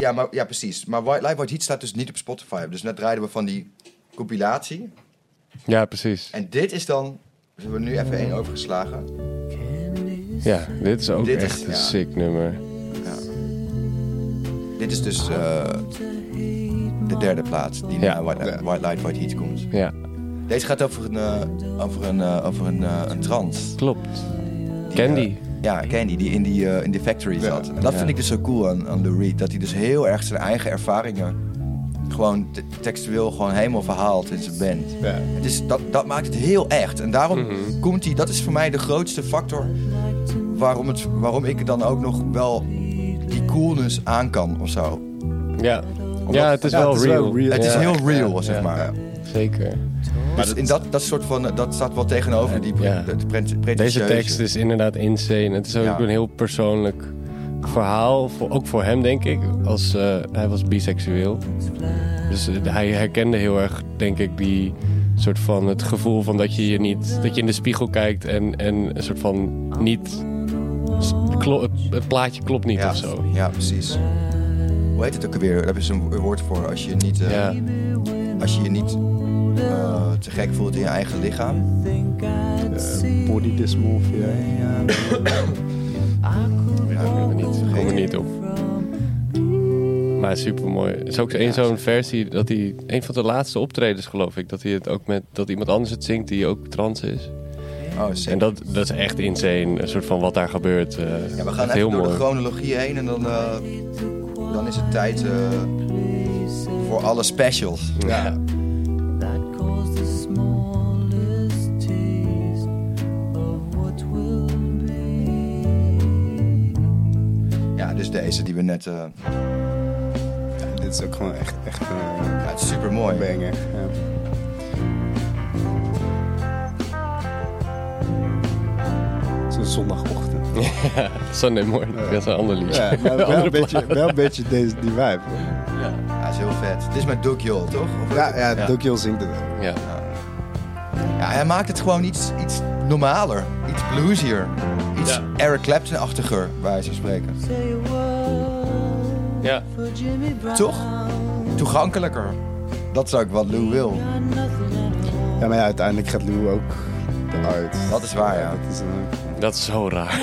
Ja, maar, ja, precies. Maar White Light White Heat staat dus niet op Spotify. Dus net draaiden we van die compilatie. Ja, precies. En dit is dan... We hebben nu even één overgeslagen. Ja, dit is ook Dit is- echt een ja. sick nummer. Dit is dus eh, de derde plaat die Ja. na White, Li- White Light White Heat komt. Ja, Deze gaat over een, eh, over een, eh, over een, eh, een trans. klopt. Die, Candy. eh, ja, Candy, die in die, eh, in die factory zat. En dat Ja. vind ik dus zo cool aan, aan Lou Reed. Dat hij dus heel erg zijn eigen ervaringen... gewoon te- textueel gewoon helemaal verhaalt in zijn band. Ja. Het is, dat, dat maakt het heel echt. En daarom Mhm. komt hij, dat is voor mij de grootste factor waarom, het, waarom ik dan ook nog wel die coolness aan kan of zo. Ja, ja het is, ja, wel, het is real. wel real. Het is Ja, heel real, ja, zeg ja. maar. Zeker. Dus in dat, dat soort van, eh, dat staat wel tegenover die pre- Ja. de- de pre- Deze pretentieuze. tekst is inderdaad insane. Het is ook Ja. een heel persoonlijk verhaal. voor- ook voor hem, denk ik. Als, eh, hij was biseksueel. Dus eh, hij herkende heel erg, denk ik, die soort van het gevoel van dat je je niet. dat je in de spiegel kijkt en, en een soort van niet. s- klo- het, het plaatje klopt niet ja. of zo. Ja, precies. Hoe heet het ook alweer? Daar is een woord voor als je niet, eh, Ja, als je, je niet eh, te gek voelt in je eigen lichaam. Eh, Body dysmorphia. Ja. ja ik weet het niet. Oh. Ik kom er niet op. Maar super mooi. Er is ook één zo'n versie dat hij. Een van de laatste optredens, geloof ik. Dat hij het ook met. dat iemand anders het zingt die ook trans is. Oh, zeker. En dat, dat is echt insane, een soort van wat daar gebeurt. eh, Ja, we echt gaan even heel door mooi. de chronologie heen en dan, eh, dan is het tijd eh, voor alle specials. ja. Ja, dus deze die we net... eh, Dit dit is ook gewoon echt, echt een Ja, het is super mooi. banger. Ja. Het is een zondagochtend. Sunday morning, Ja. dat is een ander liedje. Ja, maar wel, Andere een beetje, plaat. wel een beetje deze, die vibe. Ja, het is heel vet. Het is met Doug Joel, toch? Of- Ja, ja, Dokiel zingt het ook. Ja. Ja, hij maakt het gewoon iets, iets normaler, iets bluesier. Iets Ja. Eric Clapton-achtiger, bij wijze van spreken. ja. Toch? Toegankelijker. Dat zou ik wat Lou wil. Ja, maar ja, uiteindelijk gaat Lou ook eruit. Dat is waar, ja. Dat is een- dat is zo raar.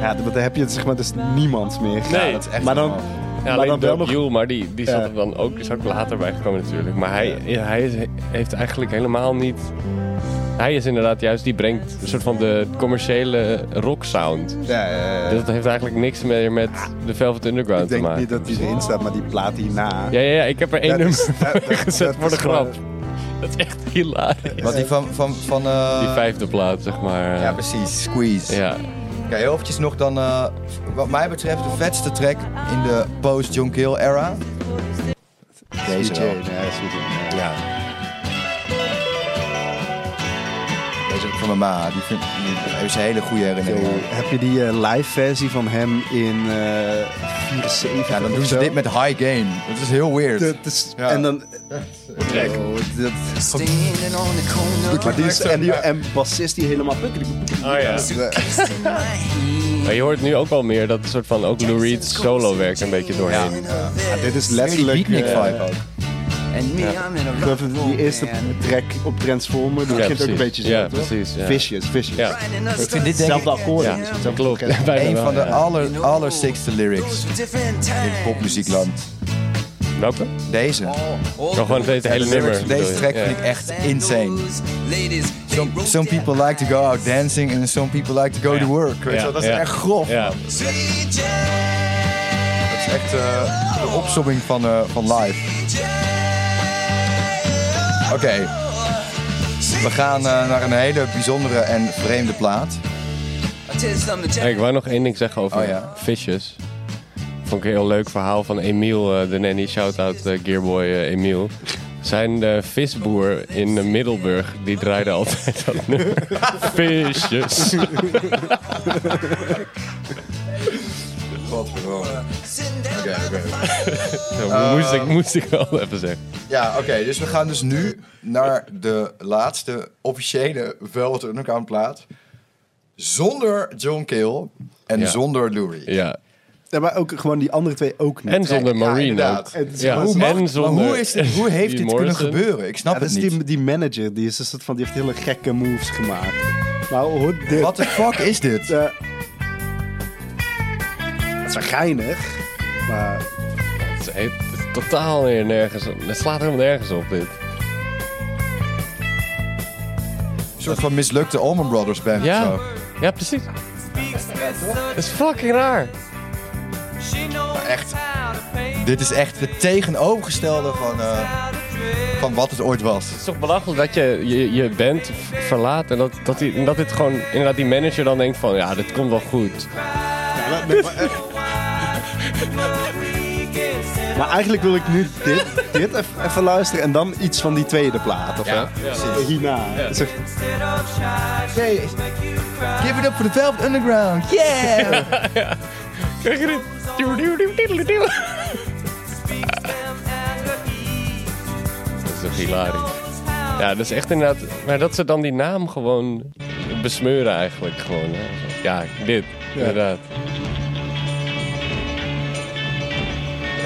ja, want dan heb je het zeg maar dus niemand meer. Nee. Ja, dat is echt Maar dan- normaal. Ja, maar alleen dan wel Doug nog... Yule, maar die, die zat Ja. er dan ook, is ook later bij gekomen natuurlijk. Maar hij, hij is- heeft eigenlijk helemaal niet... Hij is inderdaad juist, die brengt een soort van de commerciële rock sound. Ja, ja, ja, ja. Dus dat heeft eigenlijk niks meer met de Velvet Underground Ik denk te maken. niet dat die erin staat, maar die plaat hierna. Ja, ja, ja, ik heb er één Dat nummer is- dat- dat- gezet dat voor de is grap. gewoon- Dat is echt hilarisch. Want die van... van, van eh, Die vijfde plaat, zeg maar. Ja, precies. Squeeze. Ja. Oké, heel eventjes nog dan... eh, wat mij betreft de vetste track in de post-John Kill era. Deze Sweet wel. Jane, ja, Sweet Jane, ja. ja. Deze heb ik van mijn ma. Die vindt... Die heeft een hele goede herinnering. Yo, Heb je die eh, live versie van hem in eh 74 Ja, dan of doen ze zo? dit met high game. Dat is heel weird. Dat is- Ja. En dan... Yo, dat- Standing on the corner Maar die is, en, die, en bassist die helemaal... Oh ja. of my heat. Maar je hoort nu ook wel meer dat soort van ook Lou Reed's solo werk een beetje doorheen. eh, Ja, dit is Die letterlijk... beatnik eh, vibe ook. And me, I'm in a Ik geloof rock dat and die roll eerste band. track op Transformer, die Ja, begint ook een precies. beetje zo, Ja, toch? precies, ja. Vicious, Vicious. Ja. Riding a Ik vind dit denk ik Hetzelfde akkoord. Ja, hetzelfde dat klopt. pakket. Bijna een wel, van de ja. aller, allerstikste lyrics Different in popmuziekland. Welke? Deze. Ik wil gewoon het hele De lyrics nummer. van deze track Ja. vind ik echt insane. Some, some people like to go out dancing and some people like to go to work. Weet je wel, Dat is Ja. echt grof. Ja. Dat is echt eh, de opsomming van, eh, van live. Oké. We gaan eh, naar een hele bijzondere en vreemde plaat. Hey, ik wou nog één ding zeggen over Oh, ja. visjes. Vond ik een heel leuk verhaal van Emiel, eh, de nanny. Shout-out eh, Gearboy eh, Emiel. Zijn eh, visboer in eh, Middelburg, die draaide altijd dat nummer. Visjes. Oh. moest, ik, moest ik wel even zeggen. Ja, oké. dus we gaan dus nu naar de laatste officiële Velvet Underground plaat. Zonder John Cale en Ja. zonder Lou Reed. Ja. Ja, maar ook gewoon die andere twee ook niet. En zonder Ja, Marine inderdaad. ook. Het is Ja, gewoon- Hoe, mag- en maar zonder hoe, is dit, hoe heeft Dean dit kunnen Morrison. gebeuren? Ik snap Ja, dat het is niet. die, die manager, die, is een soort van, die heeft hele gekke moves gemaakt. Maar hoor dit. What the fuck is dit? eh, het is wel geinig, maar Het is echt totaal weer nergens op. Het slaat helemaal nergens op, dit. Een soort van mislukte Allman Brothers band of Ja, zo. ja precies. Dat is fucking raar. Echt. Dit is echt het tegenovergestelde van, eh, van wat het ooit was. Het is toch belachelijk dat je je, je band v- verlaat en dat, dat, die, en dat dit gewoon inderdaad die manager dan denkt van ja, dit komt wel goed. eh, Maar eigenlijk wil ik nu dit, dit even, even luisteren en dan iets van die tweede plaat. Of Ja, hè? hierna. Zo- Give it up for the Velvet Underground. Yeah! Kijk je dit? Doe, doe, doe, doe, doe. Dat is toch hilarisch. Ja, dat is echt inderdaad. Maar dat ze dan die naam gewoon besmeuren eigenlijk gewoon. Hè. Ja, dit. Inderdaad.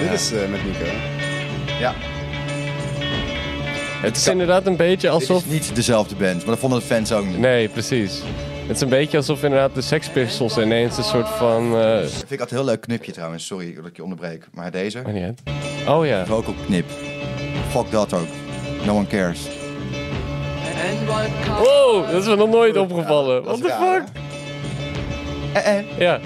Dit is eh, met Nico. ja, Het is inderdaad een beetje dit is alsof niet dezelfde band, maar dat vonden de fans ook niet. Nee, precies. Het is een beetje alsof inderdaad de Sex Pistols ineens een soort van... eh, Vind ik altijd een heel leuk knipje trouwens. Sorry dat ik je onderbreek. Maar deze, maar niet uit. Oh ja. vocal knip. Fuck dat ook. No one cares. Wow, Oh, dat is me nog nooit opgevallen. What the raar, fuck? Eh, eh. Ja.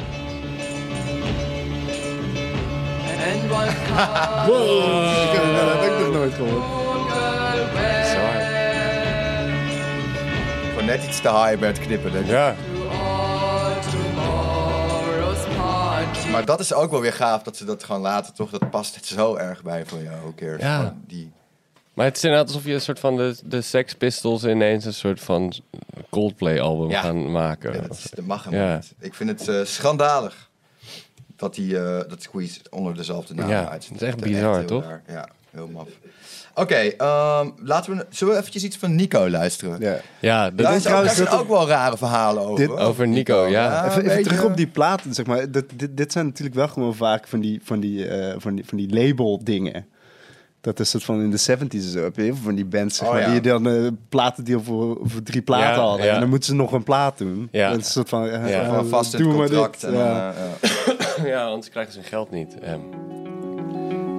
Ik heb dat ook nog nooit gehoord. Zwaar. Gewoon net iets te high bij het knippen. Denk ik. Ja. Tomorrow's party. Maar dat is ook wel weer gaaf dat ze dat gewoon laten, toch? Dat past het zo erg bij van jou, who cares? Ja. Gewoon Die, Maar het is inderdaad alsof je een soort van de, de Sex Pistols ineens een soort van Coldplay-album Ja. gaan maken. ja, dat, is, dat mag hem Ja. niet. Ik vind het eh, schandalig dat, die, eh, dat Squeeze onder dezelfde naam Ja, uitstaat. dat is echt bizar, heel toch? raar. Ja, heel maf. Oké, ehm, laten we, zullen we eventjes iets van Nico luisteren? Ja. Ja, dat Daar is is ook, daar trouwens zijn dat- ook wel rare verhalen over. Dit- hoor. over Nico, ja. Even, een even beetje- terug op die platen, zeg maar. Dat, dit, dit zijn natuurlijk wel gewoon vaak van die, van die, eh, van die, van die label dingen. Dat is soort van in de 70s en zo. Heb je heel veel van die bands zeg Oh, maar, ja. die dan eh, een platendeal voor, voor drie platen Ja, hadden. ja. En dan moeten ze nog een plaat doen. Ja. Dat is een soort van, eh, Ja. eh, Gewoon vast in doe het maar dit. contract. En, Ja. eh, ja. Ja, anders krijgen ze hun geld niet. Ehm,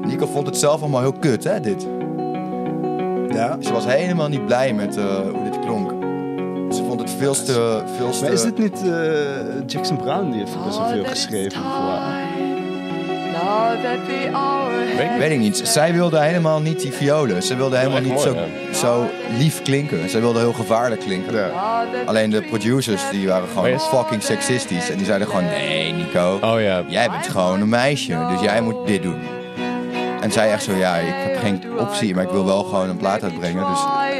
Nico vond het zelf allemaal heel kut, hè, dit. Ja. Ze was helemaal niet blij met eh, hoe dit klonk. Ze vond het veel te... Veel te Maar is dit niet eh, Jackson Brown die heeft best wel veel geschreven? Voor, eh, weet- Weet ik niet. Zij wilde helemaal niet die violen. Ze wilde helemaal echt niet zo, mooi, zo lief klinken. Zij wilde heel gevaarlijk klinken. Alleen de producers die waren gewoon Maar is- fucking seksistisch. En die zeiden gewoon, nee Nico, Oh ja. jij bent gewoon een meisje. Dus jij moet dit doen. En zij echt zo, ja, ik heb geen optie, maar ik wil wel gewoon een plaat uitbrengen. Dus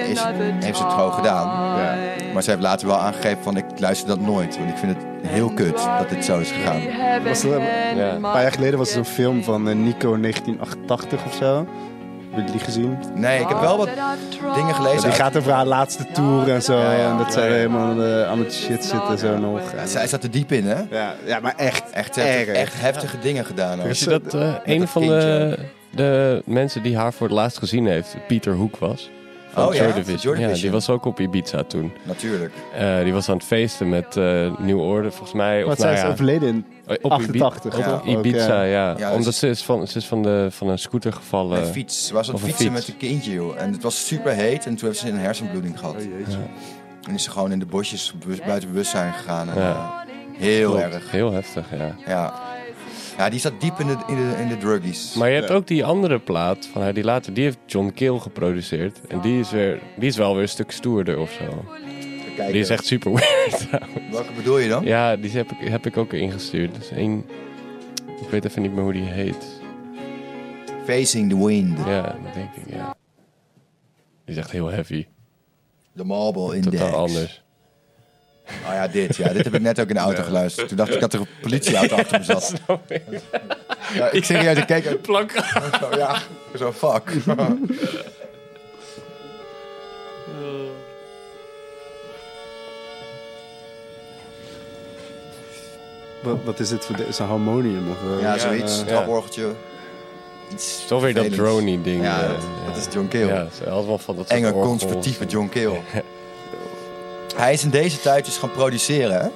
is, heeft ze het gewoon gedaan. ja. Maar ze heeft later wel aangegeven van, ik luister dat nooit. Want ik vind het heel kut dat dit zo is gegaan. Was er- ja. Een paar jaar geleden was er een film van eh, Nico 1988 of zo. Heb je die gezien? Nee, ik heb wel wat dingen Ja, gelezen. die gaat over haar laatste tour en zo. Ja, ja, en dat ja, zij ja. helemaal eh, aan het shit zitten en zo nog. Ja, Zij zat er diep in, hè? Ja, ja maar echt. Echt, ze heeft Erg. Dus- echt heftige dingen gedaan. Hoor. Wist je dat eh, een dat van de, kindje. de mensen die haar voor het laatst gezien heeft, Pieter Hoek was? Van Oh ja, Joy van Division. Joy Division. Ja, die was ook op Ibiza toen. Natuurlijk. Eh, die was aan het feesten met eh New Order, volgens mij. Want Of, zij nou is ja, overleden in op 88. Ibiza, ja. op Ibiza, ja. Ja, Omdat dus- ze is van, ze is van, de, van een scooter gevallen. Een fiets. Ze was aan Of het eh, een fietsen fiets. met een kindje, joh. En het was super heet. En toen heeft ze een hersenbloeding gehad. En is ze gewoon in de bosjes bu- buiten bewustzijn gegaan. En, Ja. eh, heel Klopt. erg. Heel heftig, ja. Ja. ja, die zat diep in de, in de, in de druggies. Maar je hebt ook die andere plaat van haar die later, die heeft John Keel geproduceerd. En die is, weer, die is wel weer een stuk stoerder of zo. Even kijken. Die is echt super weird. Welke bedoel je dan? Ja, die heb ik, heb ik ook ingestuurd. Dus één. Ik weet even niet meer hoe die heet. Facing the Wind. Ja, dat denk ik, ja. Die is echt heel heavy. The Marble Index. Totaal anders. Oh ja, dit. Ja, dit heb ik net ook in de auto geluisterd. Toen dacht ik dat er een politieauto achter me zat. Ja, ik serieus, ik keek... Plank. Zo, ja, zo fuck. Wat, wat is dit voor... De, is een harmonium of... eh, Ja, zoiets. Een ja. traporgeltje. Iets Toch weer dat vervelends. drony-ding. Ja, eh, dat, dat is John Keel. Ja, het is allemaal van dat soort Enge, orgels. conservatieve John Keel. Hij is in deze tijd dus gaan produceren, hè?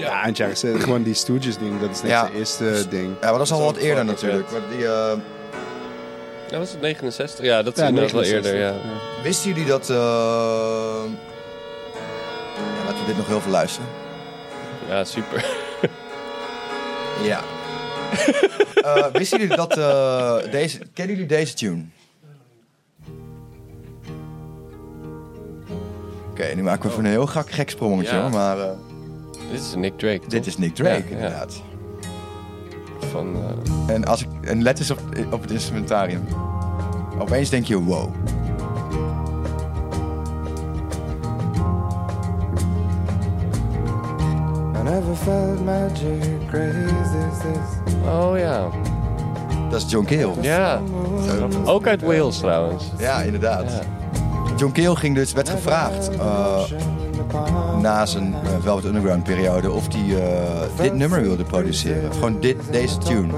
Ja, en Jack zei, gewoon die Stooges ding. Dat is net Ja. zijn eerste ding. Ja, maar dat is al Dat is ook wat eerder fucking natuurlijk. Want die, eh, Ja, was het 69? Ja, dat is inderdaad wel eerder, ja. wisten jullie dat... eh, Ja, laten we dit nog heel veel luisteren. Ja, super. Ja. Eh, wisten jullie dat... eh, deze... Kennen jullie deze tune? Oké, nu maken we even een heel gek, gek sprongetje, Ja. hoor. Maar eh, Dit is Nick Drake, toch? dit is Nick Drake, Ja, ja. inderdaad. Van, eh, En, als ik, en let eens op, op het instrumentarium. Opeens denk je, wow. Oh ja. Dat is John Keel. Ja. Ook uit Wales, trouwens. Ja, inderdaad. Ja. John Keel ging dus, werd gevraagd eh, na zijn eh, Velvet Underground periode of hij eh, dit nummer wilde produceren. Gewoon dit, deze tune.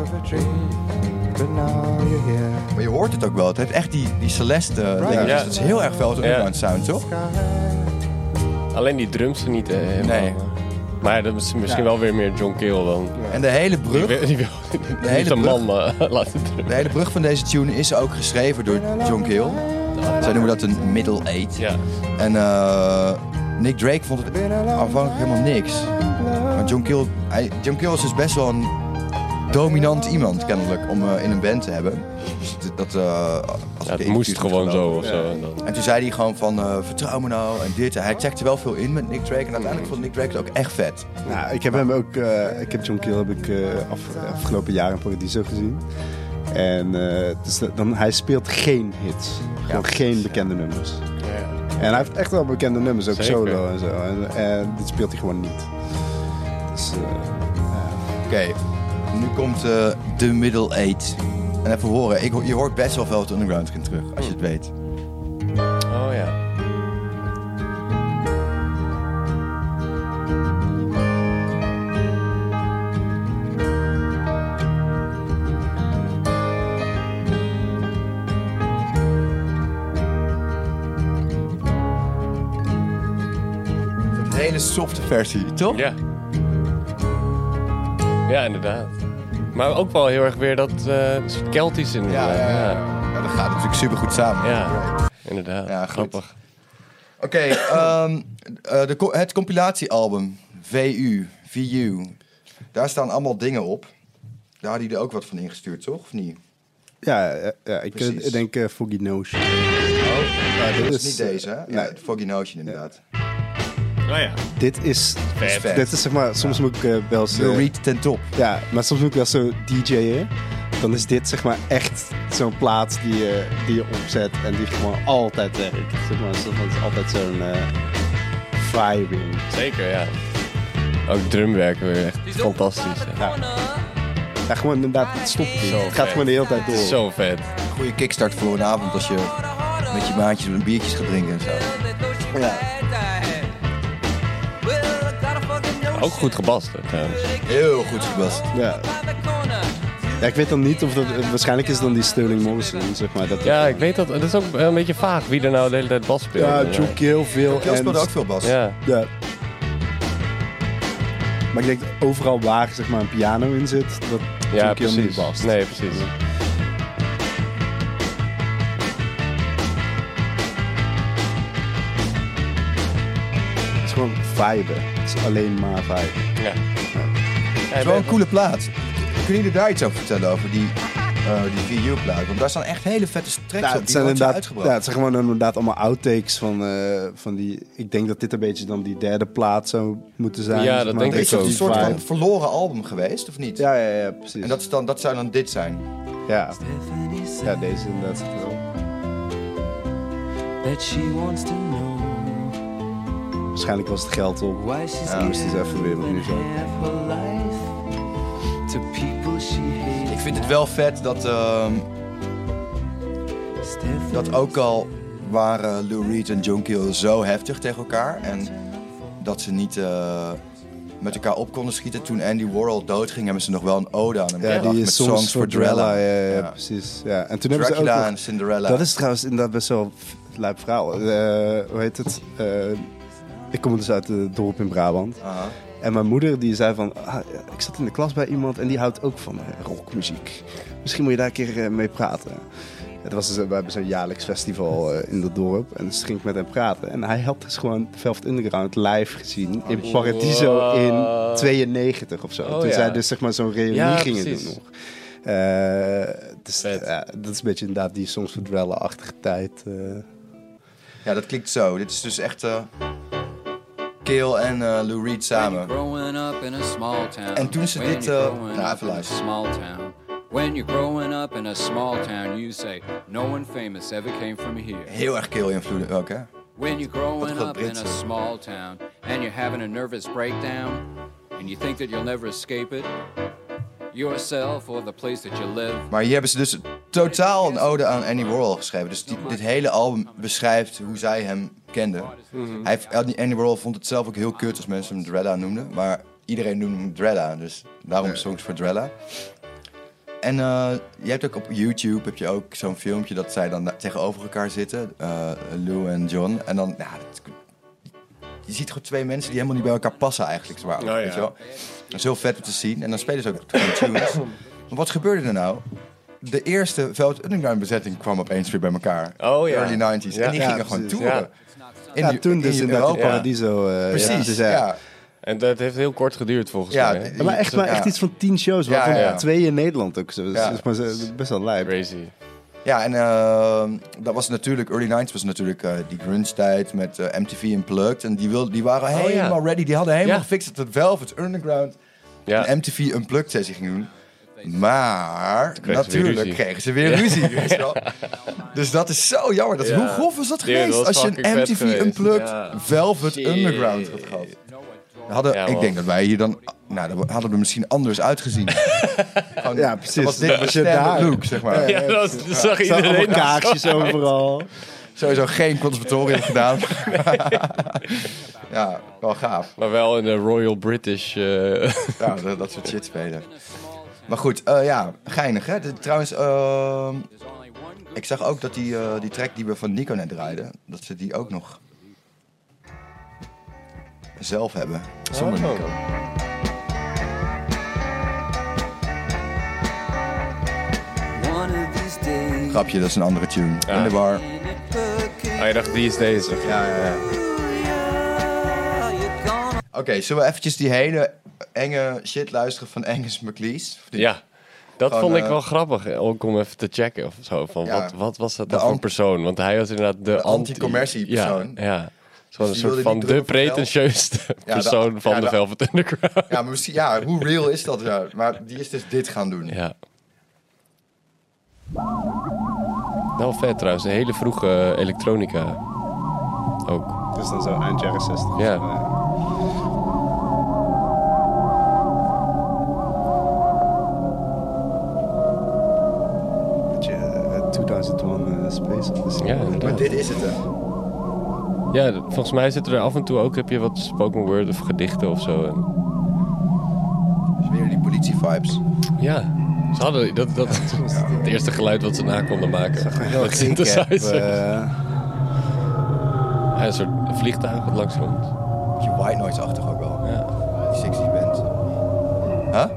Maar je hoort het ook wel. Het heeft echt die, die Celeste eh, dingen. Ja. Dus dat is heel erg Velvet Underground sound, toch? Alleen die drums zijn niet eh, helemaal... Nee. Maar dat is misschien wel weer meer John Cale dan. En de hele Die brug wil, die wil De niet hele een man eh, laten drummen. De hele brug van deze tune is ook geschreven door John Keel. Zij noemen dat een middle eight. Ja. En eh, Nick Drake vond het aanvankelijk helemaal niks. Maar John Keel, hij, John Keel is dus best wel een dominant iemand kennelijk om eh, in een band te hebben. Dus dit- dat, eh, als als Ja, we het de moest interviews gewoon moeten zo geloven. of zo. En dan, En toen zei hij gewoon van, eh, vertrouw me nou en dit. En hij checkte wel veel in met Nick Drake. En uiteindelijk vond Nick Drake het ook echt vet. Nou, ik heb hem ook, eh, ik heb John Keel heb ik eh, af- afgelopen jaar in Paradiso gezien. En eh, dus dat- dan, hij speelt geen hits. Gewoon geen bekende nummers. En hij heeft echt wel bekende nummers, ook Zeker. solo en zo. En, en dit speelt hij gewoon niet. Dus, eh, Oké, nu komt eh de Middle Eight. En even horen, ik, ho- je hoort best wel veel het Underground in terug, als je het weet. oh ja. Een hele softe versie, toch? Ja. Ja, inderdaad. Maar ook wel heel erg weer dat eh soort Keltisch in. Ja, ja, ja. ja. Ja, dat gaat natuurlijk super goed samen. Ja, inderdaad. Ja, goed. Grappig. Oké, ehm, eh, de co- het compilatiealbum VU, VU, daar staan allemaal dingen op. Daar had hij er ook wat van ingestuurd, toch? Of niet? ja, ja, ja, ik, Precies. ik denk eh, Foggy Nose. Ja, dit is, is niet deze, hè? eh, Ja, nee. het Foggy Notion inderdaad. Nou ja, Dit is, vet. Vet. dit is zeg maar, soms moet ik eh, wel eens... De eh, Reed ten top. Ja, maar soms moet ik wel zo DJ'en. Dan is dit zeg maar echt zo'n plaat die je, die je opzet en die gewoon altijd werkt. Zeg maar, dat is altijd zo'n eh vibing. Zeker, ja. Ook drumwerk weer echt fantastisch. hè. Ja, gewoon inderdaad, het stopt niet. Zo Het gaat vet. gewoon de hele tijd door. Zo vet. Goede kickstart voor een avond als je met je maatjes een biertjes gaat drinken en zo. Ook goed gebast, hè, trouwens. Heel goed gebast. Ja. ja, ik weet dan niet of dat... eh, waarschijnlijk is dan die Sterling Morrison, zeg maar. Dat Ja, ik weet dat. Het is ook een beetje vaag wie er nou de hele tijd bas speelt. ja John heel veel. Keel speelde en- ook veel bas. Ja, Ja. Maar ik denk overal waar zeg maar, een piano in zit, dat ja John Keel niet precies. past. Nee, precies. Het is gewoon vibe. Het is alleen maar vibe. Ja. Het is wel een coole plaat. Kun je er daar iets over vertellen, over die, eh die VU-plaat? Want daar staan echt hele vette tracks Ja, op, het die zijn nooit zijn inderdaad, uitgebracht. ja, het zijn gewoon inderdaad allemaal outtakes van, eh, van die... Ik denk dat dit een beetje dan die derde plaat zou moeten zijn. Ja, zeg dat maar, denk Het is ik beetje ook. een die soort van vibe. verloren album geweest, of niet? Ja, ja, ja, precies. En dat, is dan, dat zou dan dit zijn. ja. ja, deze inderdaad. zegt het wel. That she wants to know Waarschijnlijk was het geld op. why she's Ja, moest het even weer opnieuw zo. To people she Ik hates. vind het wel vet dat, ehm, dat ook al waren Lou Reed en John Keel zo heftig tegen elkaar. En dat ze niet eh, met elkaar op konden schieten. Toen Andy Warhol doodging, hebben ze nog wel een ode aan hem Ja, gebracht die met is soms Songs for Drella. Ja, ja, ja, Ja. precies. Ja. En toen hebben ze ook Dracula nog- en Cinderella. Dat is trouwens inderdaad best wel een lijp verhaal. Eh, hoe heet het? Eh, ik kom dus uit het dorp in Brabant. Aha. En mijn moeder die zei van, ah, ik zat in de klas bij iemand en die houdt ook van eh, rockmuziek. Misschien moet je daar een keer eh, mee praten. Het was dus, eh, we hebben zo'n jaarlijks festival eh, in dat dorp. En dus ging ik met hem praten. En hij had dus gewoon Velvet Underground live gezien in Paradiso in 92 of zo. Oh, Toen ja. zij dus zeg maar zo'n reunie Ja, gingen precies. doen nog. Eh, dus Vet. ja, dat is een beetje inderdaad die soms verdwellen-achtige tijd. eh. Ja, dat klinkt zo. Dit is dus echt eh Keel en eh, Lou Reed samen. Growing up in a small town. En toen ze When dit, you're eh, growing nou, up even in a luisteren. small town. When you're growing up in a small town, you say no one famous ever came from here. Heel erg Keel invloeden ook, hè? When you're growing Wat een up in a Britse. small town and you're having a nervous breakdown and you think that you'll never escape it, yourself or the place that you live. Maar hier hebben ze dus totaal een ode aan Andy Warhol geschreven. Dus die- dit hele album beschrijft hoe zij hem kenden. Mhm. Hij, heeft- Andy Warhol vond het zelf ook heel kut als mensen hem Drella noemden. Maar iedereen noemde hem Drella, dus daarom Songs voor Drella. En eh, je hebt ook op YouTube heb je ook zo'n filmpje dat zij dan na- tegenover elkaar zitten. eh, Lou en John. En dan, ja, dat- je ziet gewoon twee mensen die helemaal niet bij elkaar passen eigenlijk. Zwaar, ja. weet je wel? Dat is heel vet om te zien. En dan spelen ze ook gewoon tunes. Maar wat gebeurde er nou? De eerste Velvet Underground bezetting kwam opeens weer bij elkaar. Oh, ja. Early 90s. Ja. en die Ja, gingen gewoon precies. toeren. Ja. In, ja, de- toen dus in inderdaad in Europa. Paradiso. eh, Precies, dus ja. En dat heeft heel kort geduurd volgens Ja, mij. hè? d- Ja, maar echt, maar Ja. echt iets van tien shows, waarvan Ja, ja, ja. twee in Nederland ook. Zo. Dat is- Ja. dat is maar zo- best wel lijp. Crazy. Ja. Ja, en eh, dat was natuurlijk, early 90s was natuurlijk eh, die grunge tijd met eh, MTV Unplugged. En die, wil, die waren Oh, ja. helemaal ready, die hadden helemaal Ja. gefixt dat het Velvet Underground Ja. een MTV Unplugged sessie ging doen. Maar kregen ze weer natuurlijk ruzie. kregen ze weer ruzie. weet je wel. Dus dat is zo jammer. Dat, Ja. Hoe grof was dat Dude, geweest dat was als je fucking een vet MTV geweest. Unplugged Ja. Velvet Shit. Underground had gehad? We Hadden, Ja, ik man. denk dat wij hier dan... Nou, dan hadden we er misschien anders uitgezien. Gewoon- Ja, precies. dan was dit Dan was was je daar. look, zeg maar. Ja, dat was- dat zag Er staan allemaal iedereen. kaarsjes overal. Sowieso geen conservatorium gedaan. ja, wel gaaf. Maar wel in de Royal British. eh, Ja, dat, dat soort shit spelen. Maar goed, eh, ja, geinig hè. Dit- trouwens, ehm, ik zag ook dat die, eh, die track die we van Nico net draaiden, dat ze die ook nog zelf hebben. Zonder Oh. Nico. One of these days. Grapje, dat is een andere tune. In de war. Ah, je dacht, die is deze. Ja, ja, ja. Oké, zullen we eventjes die hele enge shit luisteren van Angus McLeese? Of die- Ja, dat Gewoon, vond ik eh, wel grappig. eh, Ook om even te checken of zo. Van Ja, wat, wat was dat de dan voor ant- persoon? Want hij was inderdaad de, anti- anti-commercie persoon. Dus Ja, ja. Zo'n die wilde soort van niet de drukken voor geld. pretentieuste de- persoon van ja, de de- Velvet Underground. Ja, maar misschien, ja, hoe real is dat? Ja? Maar die is dus dit gaan doen. Ja. Wel vet trouwens. Een hele vroege eh, elektronica. Ook. Dus dan zo eind jaren 60. Ja. Beetje, eh, 2001 eh, Space Odyssey. Ja, inderdaad. Maar dit is het, hè? Ja, d- volgens mij zitten er af en toe ook... heb je wat spoken word of gedichten of zo. En- Dus weer die politie-vibes. Ja, ze hadden dat, dat het eerste geluid wat ze na konden maken. Een synthesizer. eh, Ja, een soort vliegtuig wat langs komt. Beetje white noise-achtig ook wel. Ja. Die 60 band. Huh?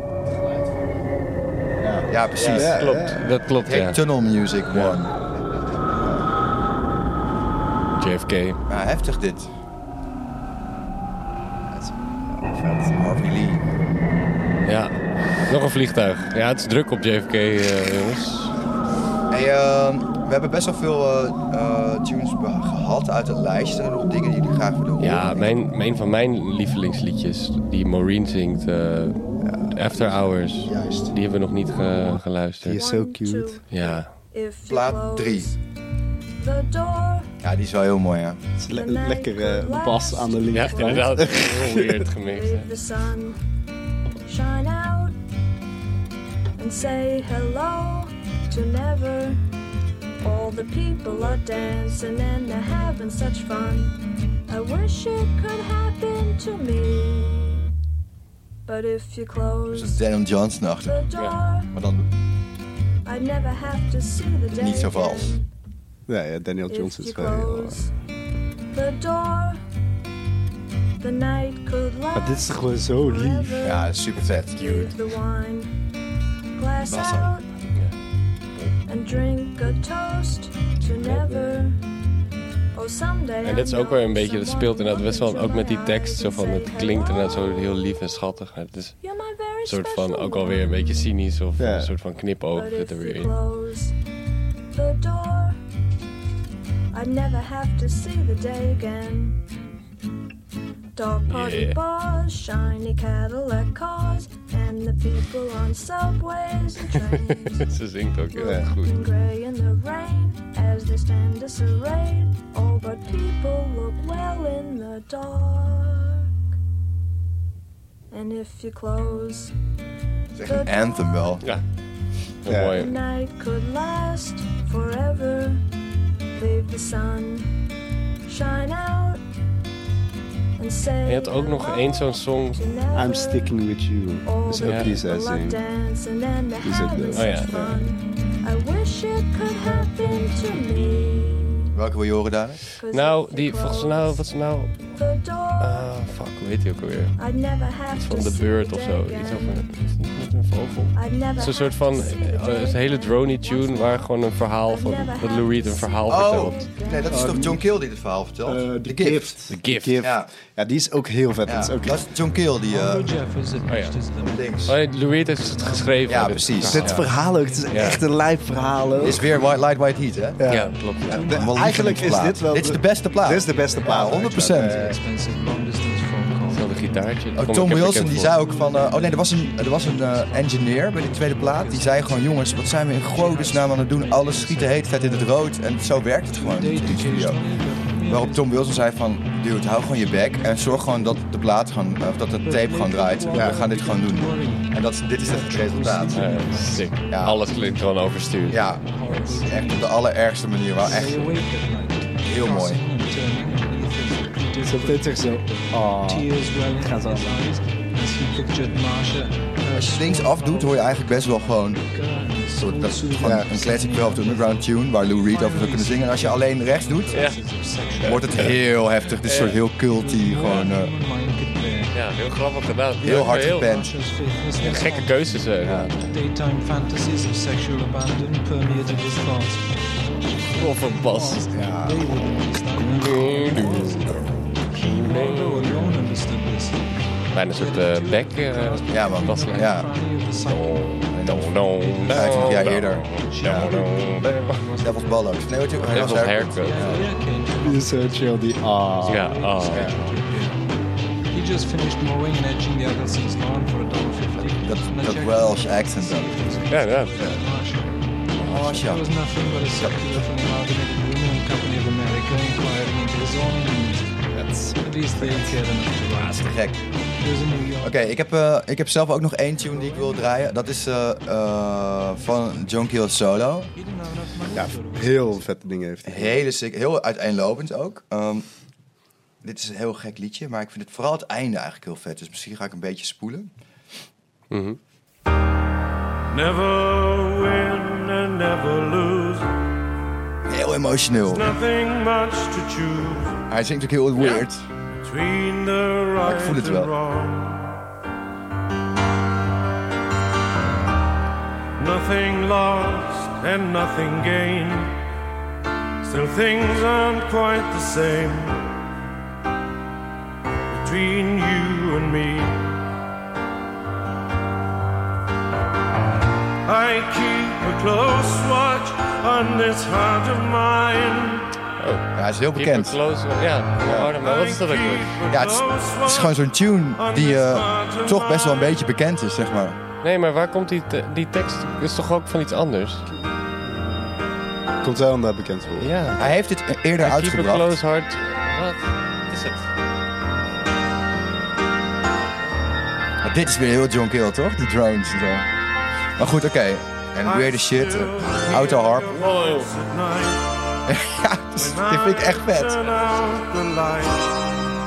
Ja, precies. Ja, Klopt, dat klopt, Het heet ja. Tunnel Music One. Ja. Ja. JFK. heftig dit. het is vet. Harvey Lee. Ja, nog een vliegtuig. Ja, het is druk op JFK, eh, jongens. Hey, ehm, we hebben best wel veel eh, eh, tunes be- gehad uit het lijstje. Zijn er nog dingen die jullie graag willen horen? Ja, mijn, mijn- een van mijn lievelingsliedjes, die Maureen zingt, eh, After Hours, Juist. die hebben we nog niet ge- Die geluisterd. is zo cute. Ja, Plaat 3. Ja, die is wel heel mooi, hè? Het is le- een lekkere bas aan de ja linkerkant. inderdaad. Heel weird gemixt. hè. the sun shine out and say hello to never. All the people are dancing and they're having such fun. I wish it could happen to me. But if you Dat is close Denim Johnson achter. the door, Maar dan I'd never have to see the day. niet zo vals. again. Ja, ja, Daniel If Johnson is you wel heel... eh, close the door, the night could Maar last. dit is toch gewoon zo lief. forever. Ja, super vet. Leave the wine glass Wasser. out and drink a toast to never. Oh, someday En dit is ook wel weer een beetje, dat speelt inderdaad best wel ook met die tekst, zo van het klinkt inderdaad zo heel lief en schattig. Maar het is een soort van ook alweer een beetje cynisch of Ja. een soort van knipoog But zit if er you weer in. close the door, I'd never have to see the day again. Dog party Yeah. bars, shiny Cadillac cars, and the people on subways and trains. Ze zingt ook heel Ja. goed. And grey in the rain as they stand disarrayed. Oh, but people look well in the dark. And if you close, Het is echt een anthem wel. Heel Ja. the mooi. night could last forever. Leave the sun shine out and say. En je had ook nog één zo'n song. I'm sticking with you. Dus ook Ja. die zij zingt. Eh, Die is ook leuk. Oh ja. I wish it could happen to me. Welke wil je horen daar? Nou, die volgens mij, nou, wat is nou? The door, Ah, fuck, hoe heet die ook alweer? I'd never have Iets to van de see beurt the of day zo. again. Iets over. een vogel. I'd never Het is een soort van eh, een hele drony tune waar gewoon een verhaal van dat Lou Reed een verhaal Oh, vertelt. nee, dat is Oh, toch die- John Keel die het verhaal vertelt? Eh, The The Gift. The Gift. Ja. Ja, die is ook heel vet. Ja, Dat is ook dat is John Keel die eh Oh ja. links. Oh, nee, Lou Reed heeft het geschreven. Ja, dit precies. verhaal. Dit verhaal ook, het is echt een lijp verhaal ook. Is weer White Light White Heat, hè? Ja, ja, klopt. Ja. De- Wel eigenlijk is lievelingsplaat. dit wel... Dit is de beste plaat. Dit is de beste plaat. Ja, 100%. Eh, Wel een gitaartje. dat Oh, komt Tom ook heel Wilson bekend die voor. zei ook van... eh, oh nee, er was een, er was een eh, engineer bij die tweede plaat. Die zei gewoon, jongens, wat zijn we in godesnaam aan het doen? Alles schiet de hele tijd in het rood. En zo werkt het gewoon in de studio. Waarop Tom Wilson zei van... Dude, hou gewoon je bek. En zorg gewoon dat de plaat gewoon... eh, Of dat de tape gewoon draait. We gaan dit gewoon doen. En dat, is- dit is het resultaat. Ja, ja, Eh, sick. Ja. Alles klinkt gewoon overstuurd. Ja, echt op de allerergste manier. Wel echt heel mooi. Zo meteen zegt ze... Oh, gaat zo. Als je het links afdoet, hoor je eigenlijk best wel gewoon... een soort- Dat is gewoon Ja. een classic Velvet Underground tune waar Lou Reed over zou kunnen zingen. En als je alleen rechts doet, Ja. wordt het heel heftig. Dit is soort heel culty, gewoon eh, Ja, heel grappig gedaan. heel hard gepand. Gekke keuzes. eh. Daytime fantasies of sexual abandon permeated his thoughts. Of een bas. Yeah. They would understand that. He, Waldo, alone understood this. Bijna een soort eh back. eh, Ja man, baslijn. ja. Fanny of the cycle. Don, don, don, 15 jaar don, eerder. don, don, don. Devil's Bollocks. Nee, wat je... hij Devil's was daar- haircut. Yeah, came to Dit is zo chill, die... Oh. Ja, oh. He just finished mowing and edging the Albertsons lawn for a dollar fifty. Dat, dat Welsh accent dan. Ja, ja. Oh, There was nothing but a circular from the Amalgamated Union Company of America inquiring into his own needs. At least they cared enough to ask. ah, Gek. He was in New York. Oké, ik heb eh, ik heb zelf ook nog één tune die ik wil draaien. Dat is eh, eh, van John Keel Solo. He didn't have enough money Ja, to do it. heel vette dingen heeft hij. Hele sick, heel uiteenlopend ook. Ehm, dit is een heel gek liedje, maar ik vind het vooral het einde eigenlijk heel vet. Dus misschien ga ik een beetje spoelen. Never win and never lose. Heel emotioneel. Nothing much to choose Hij zingt ook heel weird. between the ik right voel het and wel. wrong. Nothing lost and nothing gained. Still things aren't quite the same between you and me. I keep a close watch on this heart of mine. Ja, hij is heel Keep it bekend. close. Ja, maar wat is dat ook weer? Ja, het is, het is gewoon zo'n tune die eh, toch best wel een beetje bekend is, zeg maar. Nee, maar waar komt die, te- die tekst? Is toch ook van iets anders? Komt wel omdat bekend voor. Ja. Hij heeft dit e- eerder Keep a uitgebracht. close heart. Wat is het? Maar dit is weer heel John Keel, toch? Die drones en zo. Maar goed, oké. En weird as shit. eh, Autoharp. ja, dus, dit vind ik echt vet. Kennen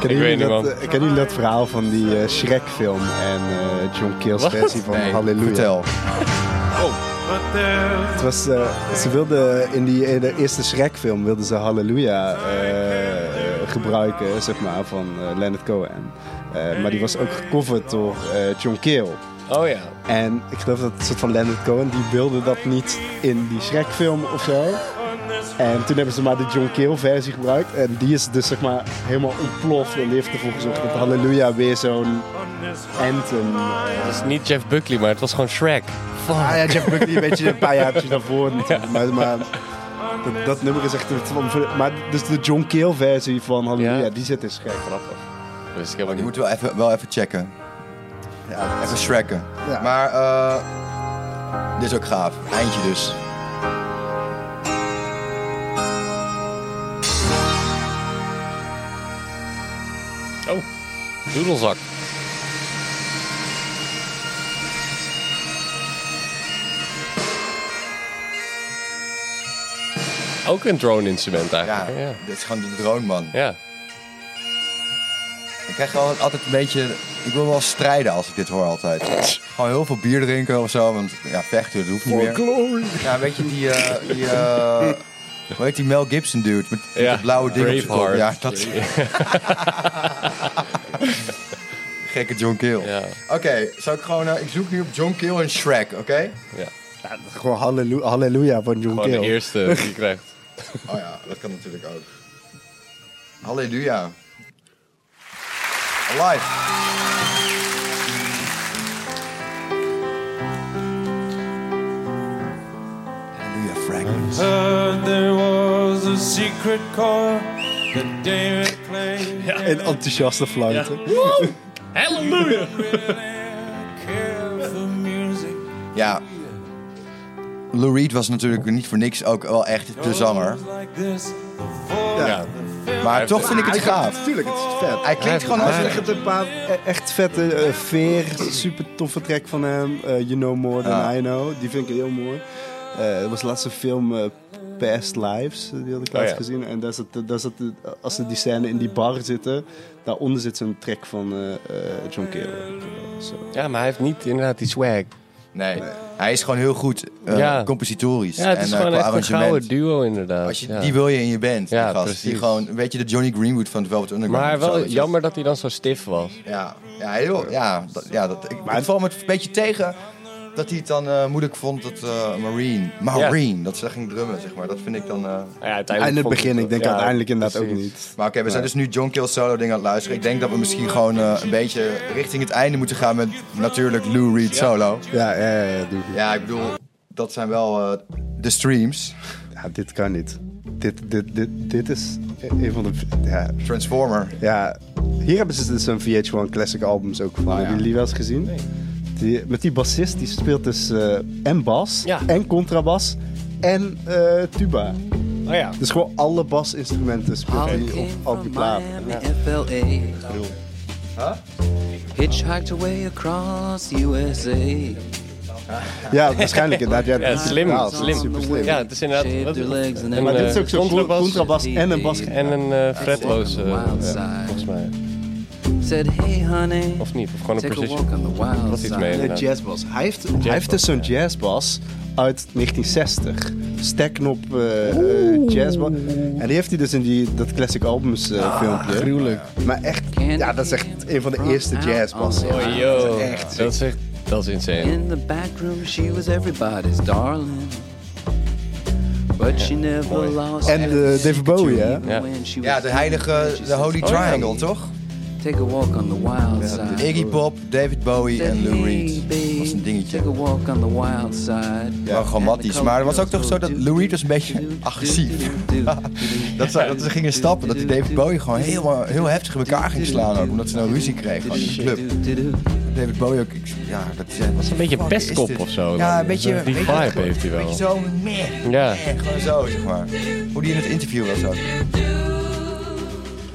Ik weet jullie niet, dat, man. eh, kennen jullie dat verhaal van die eh, Shrek-film en eh, John Keel's Wat? versie van Nee, Halleluja? vertel. Het was, eh, ze wilden in die in de eerste Shrek-film wilden ze Halleluja eh, eh, gebruiken, zeg maar, van eh, Leonard Cohen. Eh, maar die was ook gecoverd door eh, John Keel. Oh ja. En ik geloof dat het soort van Leonard Cohen, die wilde dat niet in die Shrek-film of zo. En toen hebben ze maar de John Keel-versie gebruikt. En die is dus zeg maar helemaal ontploft. En die heeft ervoor gezorgd dat Halleluja weer zo'n anthem... eh, Het is niet Jeff Buckley, maar het was gewoon Shrek. Ah ja, Jeff Buckley, een beetje een paar jaartjes daarvoor. natuurlijk. Maar, maar dat, dat nummer is echt... een- van- Maar dus de John Keel-versie van Halleluja, Ja. die zit in Shrek. Grappig. Dus ik heb Je niet. moet wel even, wel even checken. Ja, Even shrekken. Ja. Maar eh dit is ook gaaf. Eindje dus. Oh, doedelzak. Ook een drone-instrument Ja, eigenlijk. hè? Ja. dit is gewoon de drone, man. ja. Ik krijg gewoon altijd een beetje... Ik wil wel strijden als ik dit hoor altijd. Gewoon heel veel bier drinken of zo. Want ja, vechten, dat hoeft niet meer. Ja, weet je, die... eh die eh, hoe heet die Mel Gibson dude? Met, met Ja, dat blauwe ding op zijn kop. Braveheart. Ja, dat... Gekke John Keel. Ja. Oké, zou ik gewoon... eh, ik zoek nu op John Keel en Shrek, oké? Ja. Gewoon hallelu- halleluja van John Gewoon de Keel. eerste die je krijgt. Oh ja, dat kan natuurlijk ook. Halleluja. Alive. Halleluja, Fragments. Heard there was a secret chord that David played. Een enthousiaste fluit. Halleluja! Ja. Lou Reed was natuurlijk niet voor niks ook wel echt de zanger. Ja. Ja. Maar toch vind ik het gaaf. Tuurlijk, het is vet. Hij klinkt gewoon als Hij een... heeft een paar e- echt vette eh, veer, super toffe track van hem. eh, you Know More Than Ja. I Know, die vind ik heel mooi. Eh dat was de laatste film eh, Past Lives, eh, die had ik Oh, laatst ja. gezien. En daar zat, daar zat, eh, als ze die scène in die bar zitten, daaronder zit zo'n track van eh, eh, John Cale. Eh, zo. Ja, maar hij heeft niet inderdaad die swag. Nee, hij is gewoon heel goed eh, Ja. compositorisch. Ja, het en, is eh, gewoon qua echt een arrangement. gouden duo inderdaad. Als je, Ja. Die wil je in je band, Ja, die gast. Die precies. gewoon, weet je, de Johnny Greenwood van het Velvet Underground. Maar of zo, wel weet je. jammer dat hij dan zo stif was. Ja, ja, heel, ja, dat, ja dat, ik, maar het valt me een beetje tegen dat hij het dan eh, moeilijk vond dat eh, Marine, Marine, dat ze ging drummen, zeg maar. Dat vind ik dan... eh, Nou Aan het begin, ik denk uiteindelijk inderdaad ook precies. niet. Maar oké, we zijn dus nu John Kill solo ding aan het luisteren. Ik denk dat we misschien gewoon eh, een beetje richting het einde moeten gaan met natuurlijk Lou Reed solo. Ja, ja, ja, ja, doe- Ja, ik bedoel, dat zijn wel eh, de streams. ja, dit kan niet. Dit, dit, dit, dit is e, een van de... Ja, Transformer. Ja, hier hebben ze dus zo'n VH1 Classic albums ook Ah, van. Hebben jullie wel eens gezien? Die, met die bassist, die speelt dus eh, en bas, Ja. en contrabas, en eh, tuba. Oh ja. Dus gewoon alle basinstrumenten speelt hij op al die platen. FLA. Hitchhiked away across USA. Ja, waarschijnlijk inderdaad. Ja, Ja, dat is slim, betaald. Dat is slim. super slim. Ja, het is inderdaad... Shave wat- their legs and een, then- Maar dit is eh, ook zo'n contrabas contrabas en een bas. En een eh, fretloos, eh, Wild side. ja, volgens mij. Said, hey honey, Of niet, of gewoon een take a precision. walk on the Dat wild was iets side. mee Een eh, inderdaad. jazzbas. Hij heeft, hij heeft dus zo'n jazzbas uit 1960. Stekknop eh, eh, jazzbas. En die heeft hij dus in die, dat classic albums eh, Ah, filmpje. Gruwelijk. Maar echt, ja, dat is echt een van de eerste jazzbassen. Oh, Yo, Echt. dat is echt... Dat is insane. In the back room, she was everybody's darling. But she never mooi. lost. En, eh, David Bowie, hè? Ja. Ja, de heilige, de Holy Triangle, toch? Take a walk on the wild side. Iggy Pop, David Bowie Said, en Lou "Hey, Reed. babe, Dat was een dingetje. Take a walk on the wild side. Ja, grammatisch. Maar het was ook toch zo dat Lou Reed was een beetje agressief. Dat ze, dat ze gingen stappen, dat die David Bowie gewoon heel, heel heftig in elkaar ging slaan. Ook, omdat ze nou ruzie kregen gewoon in de club. David Bowie ook. ik- Ja, dat is, was Een beetje pestkop of zo. Ja, een dan. beetje. Die weet je, vibe gewoon- heeft hij wel. Beetje zo, meh. Ja. meh, gewoon zo, zeg maar. Hoe die in het interview was ook.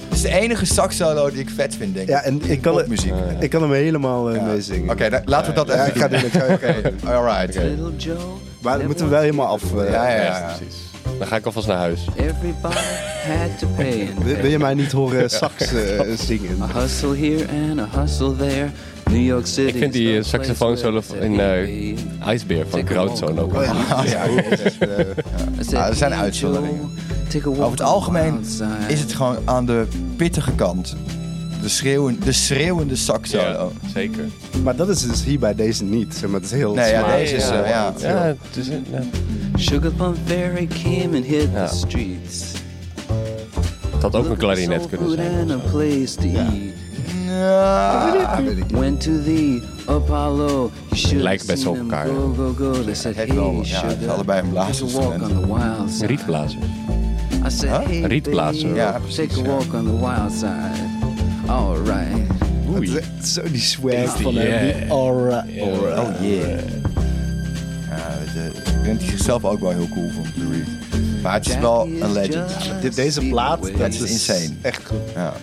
Het is de enige sax solo die ik vet vind, denk ik. Ja, en ik kan, het- muziek. ik kan hem helemaal eh, meezingen. Oké, dan- laten we dat even ik ga doen. dit- ik ga- Oké, alright. Little Joe. Maar dat moeten we wel helemaal af. eh. Ja, ja, Ja, ja. precies. Dan ga ik alvast naar huis. Everybody had to pay. And Wil, wil je mij niet horen sax eh, zingen? A hustle here and a hustle there. New York City. Ik vind die eh, saxofoon solo in eh IJsbeer van Krautzone ook wel. Ah, ja, Ah, er zijn uitzonderingen. Over het algemeen is het gewoon aan de pittige kant. De, schreeuwen, de schreeuwende sax solo. zeker. Oh. Maar dat is dus hier bij deze niet. Zeg maar, het is heel Nee, ja, zwaar. deze is... eh, ja. Ja, het is, ja. Sugar Plum Fairy came and hit Ja. the streets. Het had ook een klarinet Soul kunnen food zijn. and a place to eat. Ja. Went to the Apollo. You should Lijken best seen op them elkaar, hè? Go, go, go. They said, heeft wel- hey, ja, het is sugar, allebei een take a walk on blaasinstrument. the wild side. Rietblazer. I said, Huh? hey, Rietblazer. babe, Ja, precies, Take a ja. walk on the wild side. All right. Het is echt Zo die swag Deze, van hem. die yeah. aura. Eh, aura. Oh yeah. Ja, weet je, ik denk dat hij zichzelf ook wel heel cool vond, Lou Reed. Maar het is wel een legend. Dit, deze plaat, dat is is insane. Echt goed. Ja.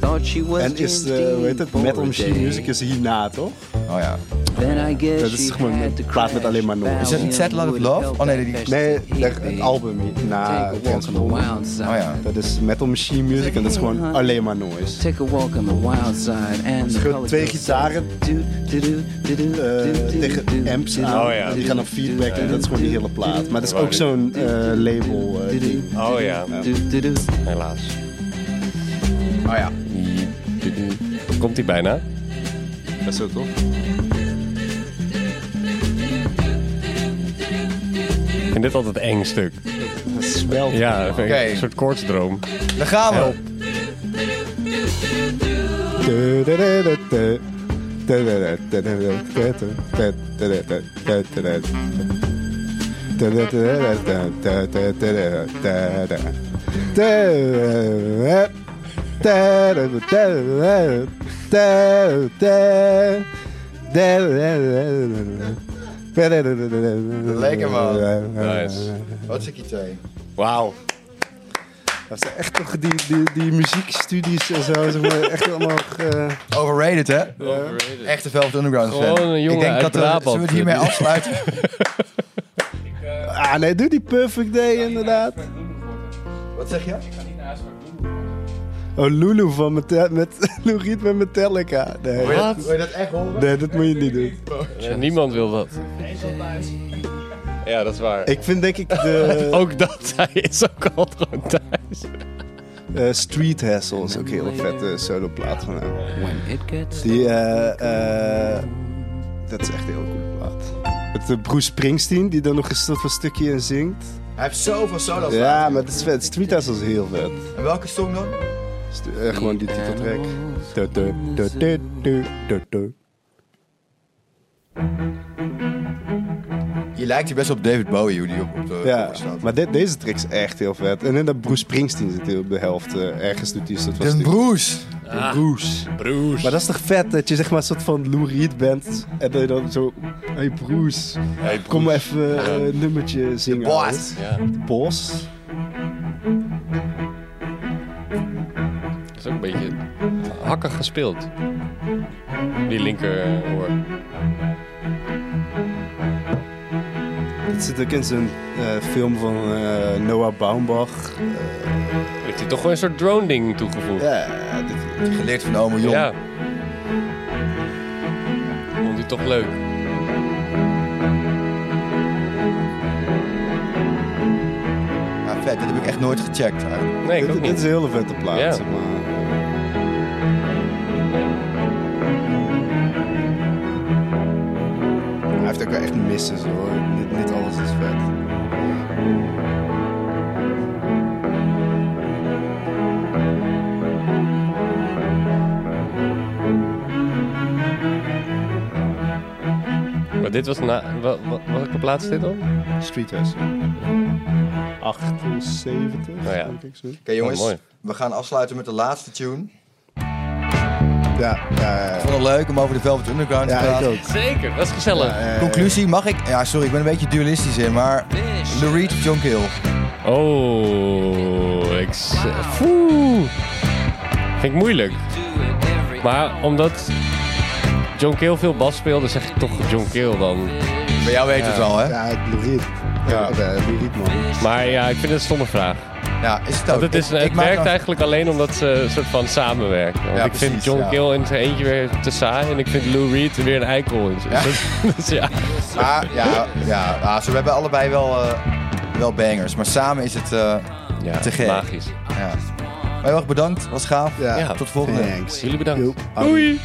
Thought she was En is, eh, hoe heet het, Metal Machine Music is hierna, toch? Oh ja. Dat is gewoon een plaat met alleen maar noise. Is dat niet Sad Lot of Love? Oh nee, die... Oh Nee, daar- het album hierna. Take a walk on the Transformers. wild Oh, side. Oh, ja. Dat is Metal Machine Music en dat is gewoon alleen maar noise. Take a walk on the wild side and is the gewoon color twee goes- gitaren, Do, do, do, do, do, eh, do, do, tegen do, amps do, aan. Oh ja. En die gaan op feedback en dat is gewoon die hele plaat. Maar dat is ook zo'n eh, label eh, ding. Oh ja, do, do, do. helaas. ja. Komt hij bijna? Dat is zo toch? Ik vind dit altijd een eng stuk. Dat smelt. Ja, dat vind ik Oké. een soort koortsdroom. Daar gaan we. Lekker Nice. Wat is ik idee? Wauw. Dat zijn echt toch die, die, die muziekstudies en zo. Zeg maar, echt allemaal. eh, Overrated, hè? Echte Velvet Underground fan. Gewoon een jongen ik denk uit dat we- Brabant. Zullen we het hiermee afsluiten? Ah, nee, doe die Perfect Day inderdaad. Wat zeg je? Oh, Lulu van Meta- met Lou Reed met Metallica. Nee, Wil je dat echt horen? nee, dat moet je niet doen. Ja, eh, niemand wil dat. Ja, dat is waar. Ik vind denk ik de Ook dat, hij is ook al gewoon thuis. eh, Street Hassle is ook een hele vette soloplaat van hem. It gets Die, eh, eh, dat is echt een heel coole plaat. Met eh, Bruce Springsteen, die dan nog eens dat een stukje in zingt. Hij heeft zoveel solo's. Ja, maar dat is vet. Street Hassle is heel vet. En welke song dan? St- eh, gewoon die titeltrack. Du- du- du- du- du- du- du. Je lijkt hier best op David Bowie, hoe die op, op de Ja, cover staat. maar dit, deze track is echt heel vet. En in dat Bruce Springsteen zit hij op de helft. eh, ergens doet hij een soort van Den stukje. Bruce. Broes. Broers. Maar dat is toch vet dat je zeg maar een soort van Lou Reed bent. En dat je dan zo... Hey Broes, kom even eh, een nummertje zingen. Boss. Ja, Bos. dat is ook een beetje hakkig gespeeld. Die linker eh, hoor. Dat zit ook in zijn eh, film van eh, Noah Baumbach. Heeft hij toch gewoon een soort drone ding toegevoegd? Ja, dit- Geleerd van Ome Jong. Ja. Vond hij toch leuk. Ja, vet, dat heb ik echt nooit gecheckt. eigenlijk. Nee, ik ook dit, dit is niet. een hele vette plaat. Ja. Zeg maar. Hij heeft ook wel echt misses hoor. Niet, niet alles is vet. Maar dit was na... wa- wa- Welke plaats dit dan? Street Hustle. 78, Nou ja. denk ik zo. Oké jongens, Oh, mooi. we gaan afsluiten met de laatste tune. Ja, Ik vond het leuk om over de Velvet Underground te ja, praten. Eh, ik ook. Eh, Zeker, dat is gezellig. Conclusie, mag ik? Ja, sorry, ik ben een beetje dualistisch in, maar... The Reed of John Kill. Oh, ik... Oeh. Vind ik moeilijk. to it every Maar omdat John Keel veel bas speelde, zeg ik toch John Keel dan. Bij jou weet het wel, hè? Ja, het Lou Reed. Ja, eh, Lou Reed, man. Maar ja, ik vind het een stomme vraag. Ja, is het Want ook. het, is, Ik- ik het maak werkt nou- eigenlijk alleen omdat ze een soort van samenwerken. Want Ja, ik vind precies, John ja. Keel in zijn eentje weer te saai en ik vind Lou Reed weer een eikel. in zijn- Dus, dus ja. Maar ja, ja, ah, ze hebben allebei wel, eh, wel bangers. Maar samen is het... eh, ja, Te gek. magisch. ja. Maar heel erg bedankt, was gaaf. Ja. Ja. Tot volgende. Thanks. Jullie bedankt. Joep. Doei!